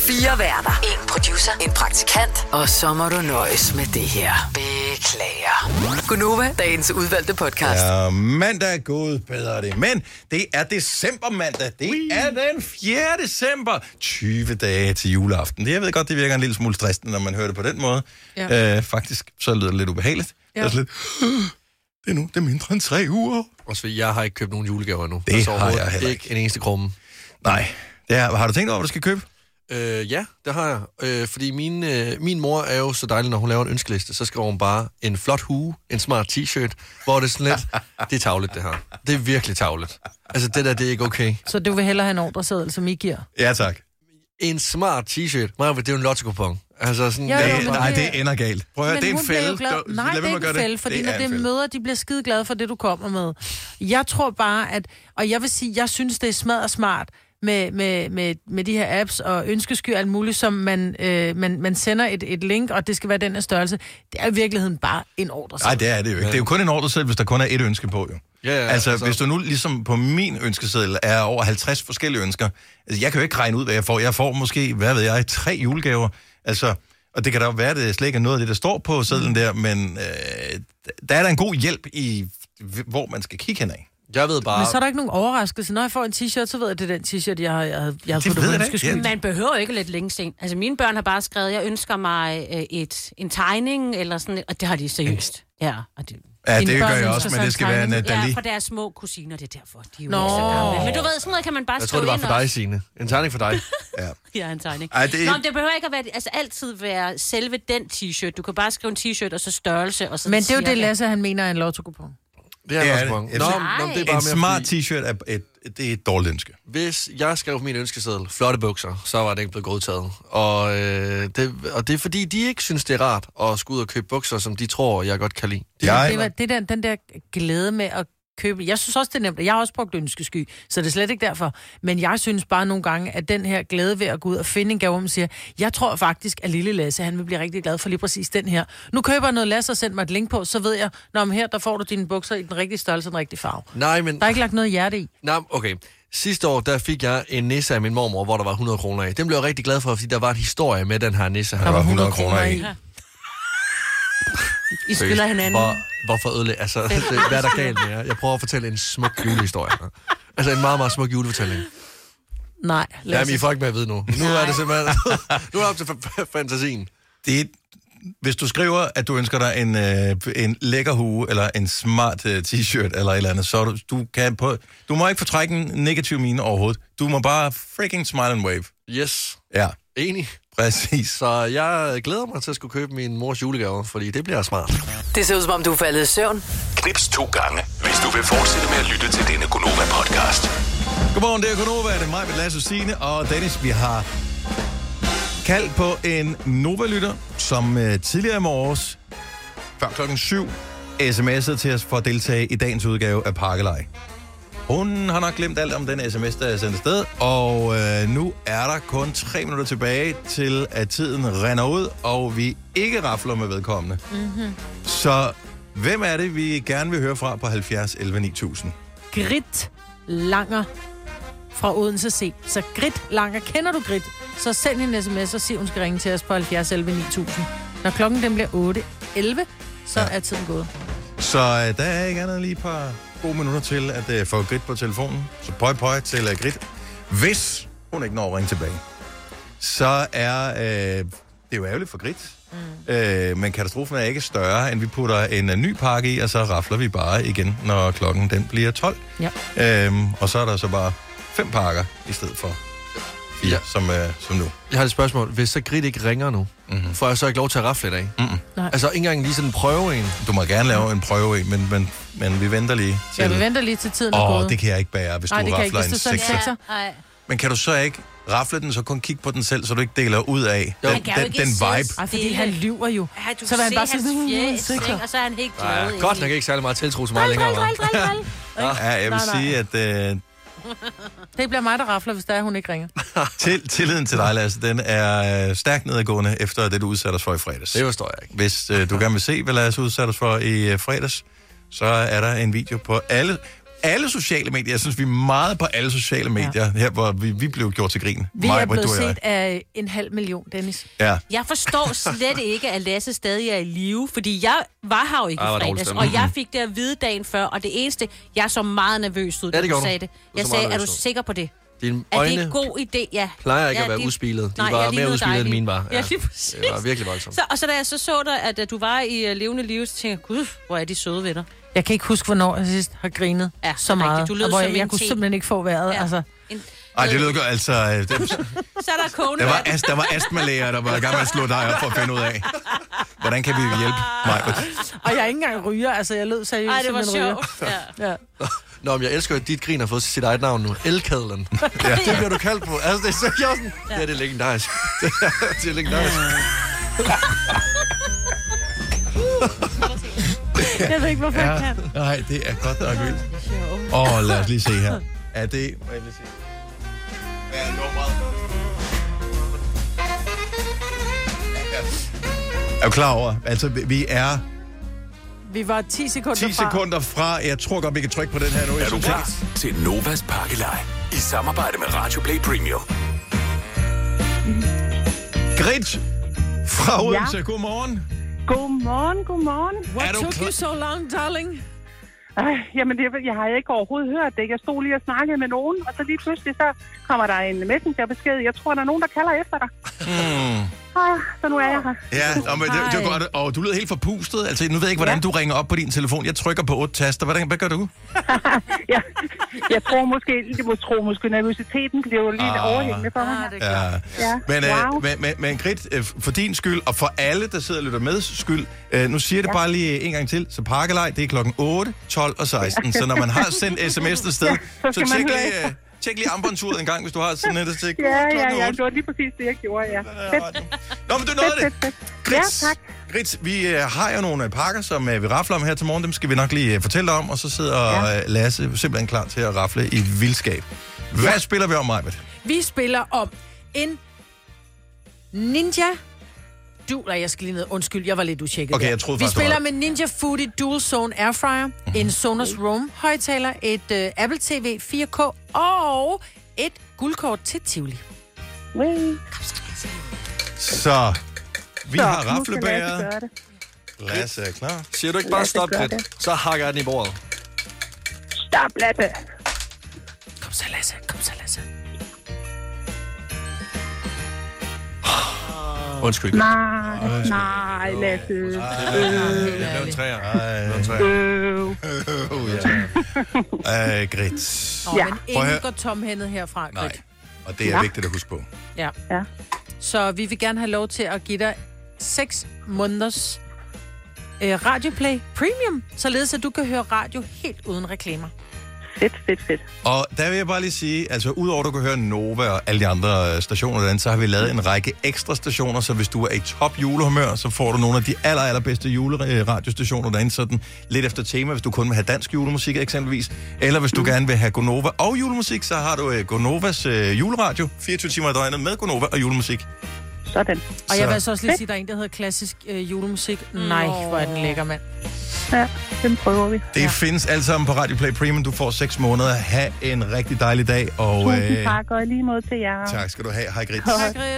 H: Fire værter. En producer. En praktikant. Og så må du nøjes med det her. Beklager. Gunova, dagens udvalgte podcast.
A: Ja, mandag, gud bedre det. Men det er december mandag. Det er den 4. december. 20 dage til juleaften. Det, jeg ved godt, det virker en lille smule stressende, når man hører det på den måde.
B: Ja.
A: Øh, faktisk, så lyder det lidt ubehageligt.
B: Ja.
A: Ja. Det er sådan lidt, det er nu, det er mindre end tre uger.
C: Også fordi jeg har ikke købt nogen julegaver endnu.
A: Det
C: Altså
A: har
C: overhovedet
A: jeg heller
C: ikke. en eneste krumme.
A: Nej. Det er, har du tænkt over, hvad du skal købe?
C: Øh, ja, det har jeg. Øh, fordi min, øh, min mor er jo så dejlig, når hun laver en ønskeliste, så skriver hun bare en flot hue, en smart t-shirt, hvor det er sådan lidt, det er tavlet det her. Det er virkelig tavlet. Altså det der, det er ikke okay.
B: Så du vil hellere have en ordreseddel, som I giver?
A: Ja, tak.
C: En smart t-shirt, Maja, det er jo en lotto Altså sådan,
B: Jo, jo, Det- men nej, det-
A: Det ender galt. Prøv at høre,
B: Men
A: det er
B: hun
A: en
B: bliver
A: fælde.
B: jo glad.
A: Du- lad
B: Nej,
A: være
B: det
A: med
B: er
A: at
B: ikke
A: gøre
B: en fælde, fordi
A: Det
B: når
A: er en
B: det er
A: fælde.
B: møder, de bliver skide glade for det, du kommer med. Jeg tror bare, at... Og jeg vil sige, jeg synes, det er smadret smart med, med, med, med de her apps og ønskesky og alt muligt, som man, øh, man, man sender et, et link, og det skal være den her størrelse. Det er i virkeligheden bare en ordre.
A: Nej, det er det jo ikke. Det er jo kun en ordre selv, hvis der kun er et ønske på, jo.
C: Ja, ja,
A: altså,
C: altså-
A: altså, hvis du nu ligesom på min ønskeseddel er over 50 forskellige ønsker, altså, jeg kan jo ikke regne ud, hvad jeg får. Jeg får måske, hvad ved jeg, tre julegaver. Altså, og det kan da jo være, at det slet ikke er noget af det, der står på sedlen der, men øh, der er der en god hjælp i, hvor man skal kigge henad.
C: Jeg ved
B: Men så er der ikke nogen overraskelse. Når jeg får en t-shirt, så ved jeg, at det er den t-shirt, jeg har, jeg har, jeg har
A: Det
B: fået
A: ved
B: på
A: jeg da
B: ønskesky.
A: ikke.
D: Man behøver jo ikke lidt længe sent. Altså, mine børn har bare skrevet, jeg ønsker mig øh, et, en tegning, eller sådan et- og det har de seriøst. Ja, og det,
A: Ja,
D: Mine
A: det
D: børn
A: gør jeg
D: ønsker
A: også,
D: sig
A: men det skal være en øh, Dali.
D: Ja, for deres små kusiner, det er derfor. De er jo
A: Nå.
D: ikke så gamle. Men du ved, sådan noget kan man bare
C: Jeg tror,
D: skrive
C: det var
D: ind
C: for
D: også.
C: dig, Signe. En tegning for dig.
A: ja.
D: Ja, en tegning.
C: Ej,
D: Ej,
C: det er-
D: det... Nå, men det behøver ikke at være, altså, altid være selve den t-shirt. Du kan bare skrive en t-shirt, og så størrelse, og så
B: Men det er jo
D: cirka.
B: det, Lasse, han mener er en lotto-coupon.
C: Det er
A: Ja,
C: jeg også bange.
A: det-
C: Nå,
A: Nej.
C: nå, men det er bare
A: En
C: mere
A: smart
C: fordi-
A: t-shirt er et, det er et dårligt ønske.
C: Hvis jeg skrev på min ønskeseddel flotte bukser, så var det ikke blevet godtaget. Og, øh, det, og det er fordi, de ikke synes, det er rart at skulle ud og købe bukser, som de tror, jeg godt kan lide. Det,
B: Det, var, det der, den der glæde med at købe. Jeg synes også, det er nemt, og jeg har også brugt ønskesky, så det er slet ikke derfor. Men jeg synes bare nogle gange, at den her glæde ved at gå ud og finde en gave, hvor man siger, jeg tror faktisk, at lille Lasse, han vil blive rigtig glad for lige præcis den her. Nu køber jeg noget Lasse og sender mig et link på, så ved jeg, når her, der får du dine bukser i den rigtige størrelse og den rigtige farve.
C: Nej, men...
B: Der er ikke lagt noget hjerte i.
C: Nej, okay. Sidste år, der fik jeg en nisse af min mormor, hvor der var 100 kroner i. Den blev jeg rigtig glad for, fordi der var en historie med den her nisse her.
B: Der var 100 kroner i. I skylder hinanden.
C: Hvor, hvorfor ødelægge? Altså, det, hvad er der galt med jer? Jeg prøver at fortælle en smuk julehistorie. her. Altså, en meget, meget smuk julefortælling.
B: Nej,
C: Jamen, I
B: Lasse.
C: får ikke med at vide nu. Nu er det simpelthen... nu er det op til fa- fa- fantasien.
A: Det, hvis du skriver, at du ønsker dig en, øh, en lækker hue, eller en smart øh, t-shirt, eller et eller andet, så er du, du kan på... Du må ikke fortrække en negativ mine overhovedet. Du må bare freaking smile and wave.
C: Yes.
A: Ja,
C: Enig.
A: præcis.
C: Så jeg glæder mig til at skulle købe min mors julegave, fordi det bliver smart.
H: Det ser ud som om, du er faldet i søvn.
F: Knips to gange, hvis du vil fortsætte med at lytte til denne Gonova-podcast.
A: Godmorgen, det er Gunova, det er mig, med Lasse Signe og Dennis. Vi har kaldt på en Nova-lytter, som øh, tidligere i morges, før klokken 7, sms'ede til os for at deltage i dagens udgave af Parkelej. Hun har nok glemt alt om den sms, der er sendt afsted, og øh, nu er der kun tre minutter tilbage til, at tiden render ud, og vi ikke rafler med vedkommende.
B: Mm-hmm.
A: Så hvem er det, vi gerne vil høre fra på 70 11 9000?
B: Grit Langer fra Odense C. Så Grit Langer, kender du Grit? Så send en sms og sig, hun skal ringe til os på 70 11 9000. Når klokken den bliver 8 11, så ja. er tiden gået.
A: Så øh, der er ikke andet end lige et par gode minutter til at øh, få Grit på telefonen. Så pøj pøj til øh, Grit. Hvis hun ikke når at ringe tilbage, så er øh, det er jo ærgerligt for Grit. Mm. Øh, men katastrofen er ikke større, end vi putter en øh, ny pakke i, og så rafler vi bare igen, når klokken den bliver 12.
B: Ja.
A: Øhm, og så er der så bare fem pakker i stedet for fire, ja. som, øh, som nu. Mhm.
C: Jeg har et spørgsmål. Hvis så Grit ikke ringer nu, mm-hmm. får jeg så ikke lov til at rafle i dag?
A: Mm-mm.
B: Nej.
C: Altså, ikke engang lige sådan en prøve en.
A: Du må gerne lave en prøve i, men, men, men vi venter lige til...
B: Ja, vi venter lige til tiden er
A: Åh,
B: gået.
A: det kan jeg ikke bære, hvis
B: Nej,
A: du
B: det kan jeg ikke,
A: rafler
B: hvis
A: en
B: du sådan
A: sekser.
B: sekser.
D: Ej.
A: Men kan du så ikke rafle den, så kun kigge på den selv, så du ikke deler ud af
D: Jo.
A: den,
D: Han kan jo
A: den,
D: ikke
A: den
D: sidde
A: vibe?
B: Ej, fordi
D: Stille.
B: han lyver jo.
D: Ja, du
B: så
D: så
B: vil
D: kan
B: han
D: se
B: bare
D: bare
B: sige,
D: hans
B: "Mm,
D: fjæs,
B: sikker."
D: ikke? og så er han helt glad.
C: Ja,
D: Ja,
C: godt nok ikke særlig meget tiltro så meget
D: Dril,
C: længere.
D: dril, dril, dril, dril.
A: Ja, jeg vil
B: Nej, nej.
A: sige, at øh,
B: Det bliver mig, der rafler, hvis der er, hun ikke ringer.
A: Ah, Til, tilliden til dig, Lasse, den er øh, stærkt nedadgående efter det, du udsatte os for i fredags. Det
C: forstår jeg ikke.
A: Hvis øh, du gerne vil se, hvad Lasse udsatte os for i øh, fredags, så er der en video på alle, alle sociale medier. Jeg synes, vi er meget på alle sociale medier, ja. her hvor vi, vi blev gjort til grin.
B: Vi er
A: Majbrit,
B: blevet
A: du og jeg.
B: set af en halv million, Dennis.
A: Ja.
D: Jeg forstår slet ikke, at Lasse stadig er i live, fordi jeg var her jo ikke
C: Ah,
D: i
C: hvor dårlig
D: fredags,
C: stemning.
D: og jeg fik det at vide dagen før, og det eneste, jeg så meget nervøs ud,
C: Ja, det
D: da du
C: gjorde du.
D: sagde det.
C: Du
D: Jeg
C: så
D: sagde,
C: meget
D: er du
C: nervøs ud.
D: sikker på det?
C: Dine
D: Er det
C: øjne
D: en god idé? Ja.
C: plejer ikke
D: ja,
C: at være
D: det-
C: udspilede. De
D: Nej,
C: var
D: jeg
C: mere
D: lignede
C: udspilede,
D: dig
C: end
D: lige-
C: mine var.
D: Ja, lige præcis.
C: Det var virkelig voldsomt.
D: Så, og så da jeg så så dig, at, at du var i uh, levende liv, så tænkte jeg, gud, hvor er de søde ved dig.
B: Jeg kan ikke huske, hvornår jeg sidst har grinet ja, så meget.
D: rigtigt. Du lød
B: og hvor
D: som
B: jeg,
D: en
B: jeg kunne
D: te.
B: simpelthen ikke få vejret. Ja. Altså.
A: Ej, det lyder godt. Altså, øh, der,
D: Så er der kogende
A: der, var,
D: vand.
A: as, der var astmalæger, der var i gang med at slå dig op for at finde ud af, hvordan kan vi hjælpe mig.
B: Og jeg er ikke engang ryger, altså jeg lød seriøst
D: Ej, det var
B: som en ryger.
D: sjovt. Ja.
B: Ja.
C: Nå, men jeg elsker, at dit grin har fået sit eget navn nu. Elkedlen.
A: Ja.
C: ja. Det bliver du kaldt på. Altså, det er så jeg er sådan, ja. det er legendarisk. det er- det er legendarisk.
B: Jeg ved ikke, hvorfor
A: ja.
B: jeg kan.
A: Nej, det er godt nok vildt. Åh, oh, lad os lige se her. Er det... Må jeg lige se? Hvad er nummeret? Er du klar over? Altså, vi- vi er
B: Vi var 10 sekunder
A: 10
B: fra.
A: sekunder fra... Jeg tror godt, vi kan trykke på den her nu. Jeg
F: Er du
A: synes
F: klar
A: ikke-
F: til Novas pakkelej i samarbejde med Radio Play Premium?
A: Grit fra
I: Ja.
A: Odense. Godmorgen.
I: Godmorgen, godmorgen.
A: What Er du took klar- you
B: so long, darling?
I: Øh, jamen, det, jeg har ikke overhovedet hørt det. Jeg stod lige og snakkede med nogen, og så lige pludselig så kommer der en messengerbesked. Jeg tror, der er nogen, der kalder efter dig.
A: Mm.
B: Hmm.
I: Ah, så nu er jeg her.
A: Ja, og, men, det, det var
I: Hej.
A: godt. Og du lyder helt forpustet. Altså, nu ved jeg ikke, hvordan du ringer op på din telefon. Jeg trykker på otte taster. Hvordan, hvad gør du?
I: jeg, jeg tror måske, jeg må tro, måske nervøsiteten blev lige lidt
A: Ah.
I: overhængende for mig. her.
A: Ja.
I: Ja.
A: Men,
I: Wow.
A: øh, men, men, men Grit, øh, for din skyld, og for alle, der sidder og lytter med skyld, øh, nu siger jeg det
I: Ja.
A: bare lige en gang til, så pakkelej, det er klokken 8, 12 og 16.
I: Ja.
A: Så når man har sendt sms'en afsted,
I: Ja,
A: ja,
I: så
A: så
I: skal man
A: tjek
I: høre
A: lige,
I: efter.
A: øh, tjek lige armbåndsuret en gang, hvis du har sådan et. Så,
I: Ja, ja,
A: klokken
I: ja,
A: otte.
I: det var lige præcis det, jeg gjorde, ja. Fedt.
A: Nå, men du nåede det. Grit,
I: Ja, tak.
A: Grit, vi øh, har jo nogle øh, pakker, som øh, vi rafler om her til morgen. Dem skal vi nok lige øh, fortælle dig om, og så sidder ja. Lasse simpelthen klar til at rafle i vildskab. Hvad ja. spiller vi om, Majbet?
B: Vi spiller om en ninja... Du, nej, jeg skal lige ned. Undskyld, jeg var lidt utjekket.
A: Okay,
B: der.
A: jeg troede
B: Vi
A: faktisk, Mhm. du
B: spiller
A: var-
B: med Ninja Foodie Dual Zone Airfryer, mm-hmm. en Sonos Roam højtaler, et øh, Apple TV 4K og et guldkort til Tivoli.
A: Så vi
B: Nå,
A: har
B: nu skal
A: raflebæret.
B: Lasse gøre det.
A: Lasse er klar.
C: Siger du ikke bare stop,
A: gør
C: Grit? Så hakker jeg den i bordet.
I: Stop, Lasse.
B: Kom så, Lasse. Kom så, Lasse.
C: Undskyld.
I: Nej, nej, Lasse. Øh,
C: Det blev en træer.
I: øh.
A: ja. Øh, Grit.
B: Nå, ja.
A: Prøv
B: men
A: at
B: ingen
A: høre.
B: går tomhændet herfra, Grit.
A: Nej, og det er
B: Ja.
A: vigtigt at huske på.
B: Ja.
I: ja.
B: Så vi vil gerne have lov til at give dig 6 måneders øh, Radioplay Premium, således at du kan høre radio helt uden reklamer.
I: Fedt, fedt, fedt.
A: Og der vil jeg bare lige sige, altså udover at du kan høre Nova og alle de andre øh, stationer, derinde, så har vi lavet en række ekstra stationer, så hvis du er i top julehumør, så får du nogle af de aller, allerbedste juleradiostationer derinde, sådan lidt efter tema, hvis du kun vil have dansk julemusik eksempelvis, eller hvis du gerne vil have Gonova og julemusik, så har du øh, Gonovas øh, juleradio, 24 timer i døgnet med Gonova og julemusik.
I: Sådan.
B: Og jeg
A: Så-
B: vil så også lige sige, at der er en, der hedder klassisk øh, julemusik. Nej, hvor er den lækker, mand.
I: Ja, den prøver vi.
A: Det ja. findes alt sammen på Radio Play Premium. Du får 6 måneder. Ha' en rigtig dejlig dag. Og, øh,
I: Tusind tak, og i lige måde til jer.
A: tak skal du have. Hej, Grit.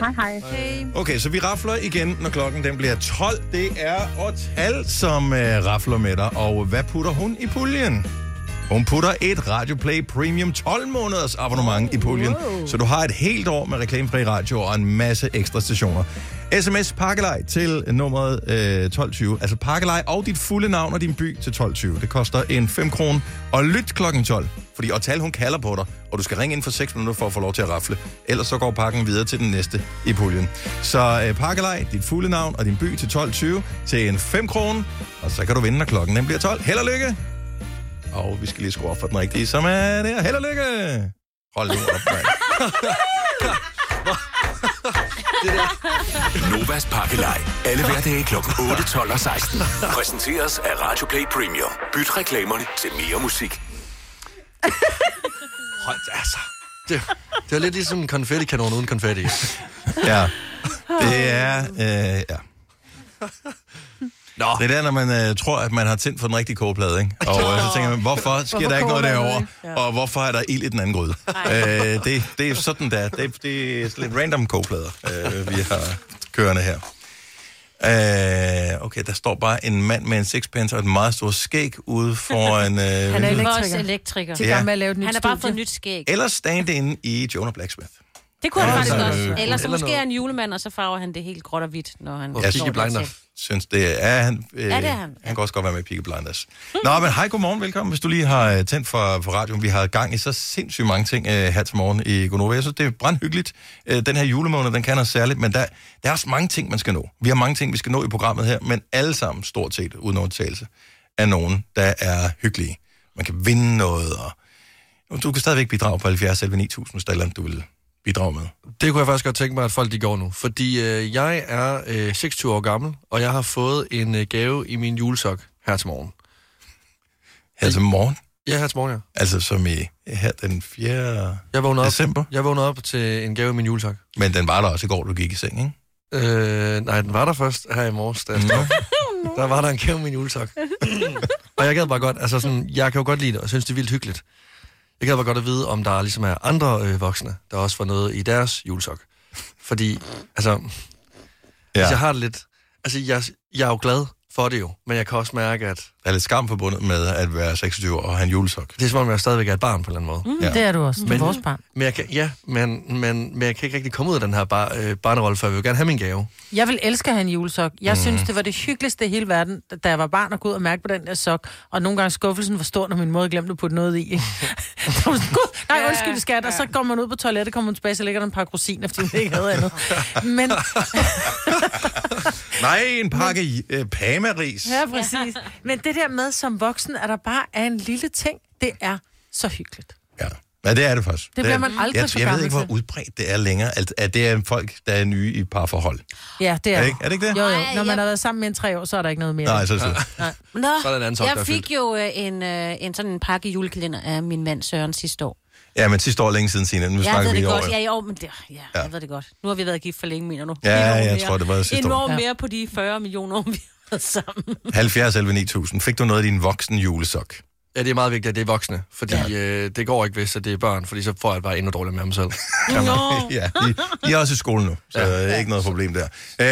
I: Hej, hej.
A: Okay, så vi rafler igen, når klokken den bliver 12. Det er Otal, som øh, rafler med dig. Og hvad putter hun i puljen? Hun putter et Radio Play Premium 12 måneders abonnement i puljen.
E: Wow.
A: Så du har et helt år med reklamefri radio og en masse ekstra stationer. SMS pakkelej til nummeret øh, 1220. Altså pakkelej og dit fulde navn og din by til 1220. Det koster en 5 kroner. Og lyt klokken 12, fordi Otal hun kalder på dig, og du skal ringe inden for 6 minutter for at få lov til at rafle. Ellers så går pakken videre til den næste i puljen. Så øh, pakkelej, dit fulde navn og din by til 1220 til en 5 kroner. Og så kan du vinde, når klokken den bliver 12. Held og lykke! Og vi skal lige skrue op for den rigtige, som er der. Held og lykke! Hold nu op, mand.
F: Novas pakkelej. Alle hverdage kl. 8, 12 og 16. Præsenteres af Radio Play Premium. Byt reklamerne til mere musik.
C: Hold, altså. Det, det var lidt ligesom en konfettikanon uden konfetti.
A: Ja. Det er... Øh, ja.
C: Nå.
A: Det er der, når man øh, tror, at man har tændt for den rigtige kogeplade, ikke? Og øh, så tænker man, hvorfor sker
B: Hvorfor
A: der ikke noget
B: koger der
A: derovre?
B: noget, ikke? Ja.
A: Og hvorfor er der ild i den anden gryde? Øh, det, det er sådan der. Det, det er lidt random kogeplader, øh, vi har kørende her. Øh, okay, der står bare en mand med en sixpence og et meget stort skæg ude foran... Øh,
D: Han
A: vinduet.
D: er elektriker. Vores elektriker.
A: Til gang med at lave et nyt
D: Han har bare
B: studie.
D: fået nyt skæg.
A: Eller stand inde i Jonah Blacksmith.
D: Det kunne han
A: Eller
D: faktisk
A: sådan
D: også.
A: noget.
D: Eller så
A: Eller
D: måske
A: noget.
D: er han julemand, og så farver han det helt gråt og hvidt, når han...
A: Jeg
D: står dertil.
A: synes, det er han. Øh,
D: Ja, det er han.
A: Han kan også godt være med i Peaky Blinders. Nå, men hej, godmorgen, velkommen. Hvis du lige har øh, tændt for, for radioen, vi har gang i så sindssygt mange ting øh, her til morgen i Gonova. Jeg synes, det er brandhyggeligt. Øh, den her julemåned, den kan os særligt, men der, der er også mange ting, man skal nå. Vi har mange ting, vi skal nå i programmet her, men alle sammen, stort set, uden undtagelse, er nogen, der er hyggelige. Man kan vinde noget, og du kan stadigvæk bidrage på 70 selv 9000, hvis der er et eller andet, du vil bidrage med.
C: Det kunne jeg faktisk godt tænke mig, at folk de går nu. Fordi øh, jeg er øh, 26 år gammel, og jeg har fået en øh, gave i min julesok her til morgen.
A: Her til morgen?
C: Ja, her til morgen, ja.
A: Altså som i her den 4.
C: Jeg vågnede
A: December.
C: Op, jeg vågnede op til en gave i min julesok.
A: Men den var der også i går, du gik i seng, ikke?
C: Øh, nej, den var der først her i morges, da jeg stod. op. Der var der en gave i min julesok. og jeg gad bare godt, altså sådan, jeg kan jo godt lide det, og synes det er vildt hyggeligt. Jeg gad bare godt at vide, om der ligesom er andre øh, voksne, der også får noget i deres julesok. Fordi, altså, ja. altså jeg har det lidt, altså jeg, jeg er jo glad for det jo, men jeg kan også mærke, at...
A: Der er lidt skam forbundet med at være 26 år og have en julesok.
C: Det er som om, jeg stadigvæk er et barn på en eller anden måde.
B: Mm, Ja. det er du også. Du er vores barn.
C: Men jeg kan, ja, men, men, men jeg kan ikke rigtig komme ud af den her bar, øh, barnerolle, for jeg vil jo gerne have min gave.
B: Jeg vil elske at have en julesok. Jeg
A: Mhm.
C: Mm.
B: mm. synes, det var det hyggeligste i hele verden, da- da jeg var barn og gå ud og mærke på den der sok. Og nogle gange skuffelsen var stor, når min mor havde glemt at putte noget i. ikke? Så var man sådan, Gud, nej,
O: Ja,
B: undskyld skat. Og så går man ud på toilettet, kommer man tilbage, så ligger der en par rosiner, fordi hun ikke havde andet. Men,
A: Nej, en pakke i, øh, pamaris.
B: ja, præcis. Men det der med som voksen, at der bare er en lille ting, det er så hyggeligt.
A: Ja, det er det faktisk.
B: Det bliver
A: er-
B: man aldrig
A: jeg,
B: for
A: jeg ved
B: gammel
A: ikke, hvor
B: til.
A: udbredt det er længere, at, at det er folk, der er nye i parforhold.
B: Ja, det er,
A: Er det ikke- er det ikke det?
B: Jo, jo.
D: Ej,
B: Når man
D: jeg-
B: har været sammen mere end tre år, så er der ikke noget mere.
A: Nej, så er det slut.
B: Nej.
D: Nå,
A: Så er der en anden sok, der er
D: jeg fik jo øh, en, øh, en sådan en pakke julekalender af min mand Søren sidste år.
A: Ja, men sidste år er længe siden, Signe. Nu
D: jeg
A: snakker
D: ved
A: vi
D: det
A: i
D: godt.
A: år.
D: Ja, i år, men det, ja,
A: Ja.
D: ja, jeg ved det godt. Nu har vi været gift for længe, mener du?
A: Ja,
D: En år
A: jeg
D: mere.
A: tror, det var sidste
D: en
A: år.
D: år
A: Ja.
D: mere på de 40 millioner, år, vi har været sammen.
A: 70 11 9000. Fik du noget af din voksen julesok?
C: Ja, det er meget vigtigt, at det er voksne, fordi ja. øh, det går ikke, hvis at det er børn, fordi så får jeg det bare endnu dårligere med mig selv.
A: Nå. ja, de, de er også i skole nu, så ja. ikke noget problem der. Øh,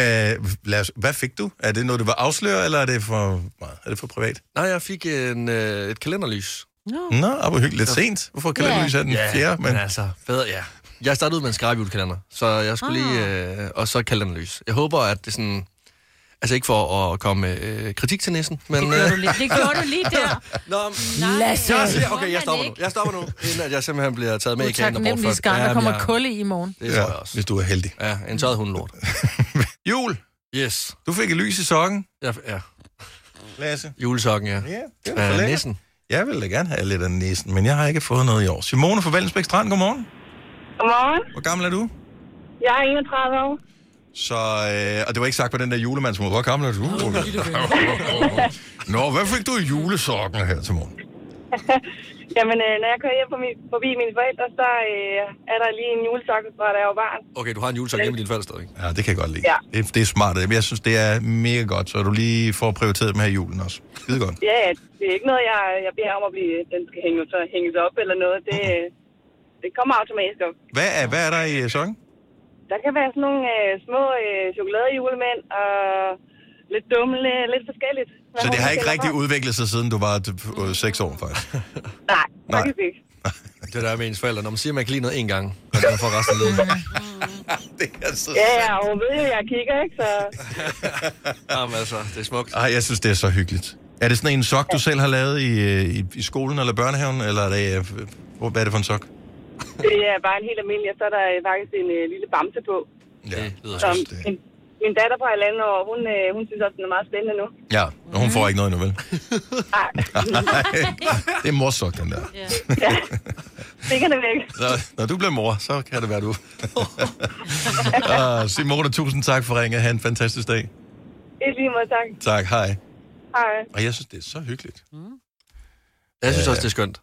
A: lad os, hvad fik du? Er det noget, du vil afsløre, eller er det for, meget? er det for privat?
C: Nej, jeg fik en, øh, et kalenderlys.
A: Nå. Nå, og hvor hyggeligt. Lidt sent. Hvorfor kalenderlys er den
C: ja,
A: fjerde, men-
C: men... altså, bedre, ja. Jeg startede ud med en skrabhjulkalender, så jeg skulle
D: Ah.
C: lige... Øh, og så kalenderlys. Jeg håber, at det sådan... Altså ikke for at komme med øh, kritik til næsen, men... øh,
D: Det
L: øh,
D: gjorde du lige, det gjorde du lige der.
C: Nå,
B: Lasse.
C: Jeg, siger- okay, jeg stopper nu. Jeg stopper nu, inden at jeg simpelthen bliver taget med i kagen og
B: Utaknemmelig
C: bortført.
B: skam, der
C: Jamen,
B: kommer
C: jeg-
B: kul i i morgen.
C: Det tror jeg også.
A: Hvis du er heldig.
C: Ja, en tøjet hundelort.
A: Jul.
C: Yes.
A: Du fik et lys i sokken.
C: Ja, ja.
A: Lasse.
C: Julesokken, ja.
A: Ja, det
C: Øh,
A: var for
C: næsen.
A: næsten. Jeg ville da gerne have lidt af næsen, men jeg har ikke fået noget i år. Simone fra Vallensbæk Strand, godmorgen.
P: Godmorgen.
A: Hvor gammel er du?
P: Jeg er 31 år.
A: Så, øh, og det var ikke sagt på den der julemandsmåde. Hvor gammel er du? Nå, hvad fik du i julesokken her til morgen?
P: Jamen, øh, når jeg kører hjem forbi, forbi mine forældre, så øh, er der lige en julesok, fra da jeg var barn.
C: Okay, du har en julesok hjemme i din fald stadig.
A: Ja, det kan jeg godt lide.
P: Ja.
A: Det, det er smart. Jeg synes, det er mega godt, så du lige får prioriteret dem her i julen også. Skide godt.
P: Ja, det er ikke noget, jeg, jeg beder om at blive, den skal hænge, så hænges op eller noget. Det, øh, det kommer automatisk op.
A: Hvad er, hvad er der i øh, sokken?
P: Der kan være sådan nogle øh, små øh, chokoladejulemænd og lidt dumle, lidt forskelligt. Hvad
A: Så det
P: hun
A: har ikke
P: stiller
A: rigtig
P: for.
A: udviklet sig, siden du var øh, 6 år, faktisk.
P: Nej,
A: Nej.
P: faktisk ikke.
C: Det der er med ens forældre, når man siger, at man kan lide noget én gang, og man får resten af livet.
A: det er så
P: Ja, ja, og hun ved jo, jeg kigger, ikke? Så
C: Jamen altså, det er smukt.
A: Ej, jeg synes, det er så hyggeligt. Er det sådan en sok, du selv har lavet i, øh, i, i skolen eller børnehaven, eller er det, øh, hvor- hvad er det for en sok?
P: det er bare en helt almindelig, og så er der øh, faktisk en øh, lille bamse på.
A: Ja, det
P: Som min, min datter på halvanden år, hun, øh, hun synes også, den er meget spændende nu.
A: Ja, og hun får ikke noget endnu, vel?
P: Nej.
A: Nej, det er morsok, den der.
P: ja. Fingrene væk.
A: Når, når du bliver mor, så kan det være du. uh, Simone, tusind tak for ringet. Ha' en fantastisk dag.
P: I lige måde, tak.
A: Tak, hej.
P: Hej.
B: Mm.
A: Og jeg synes, det er så hyggeligt.
C: Jeg synes også, det er skønt.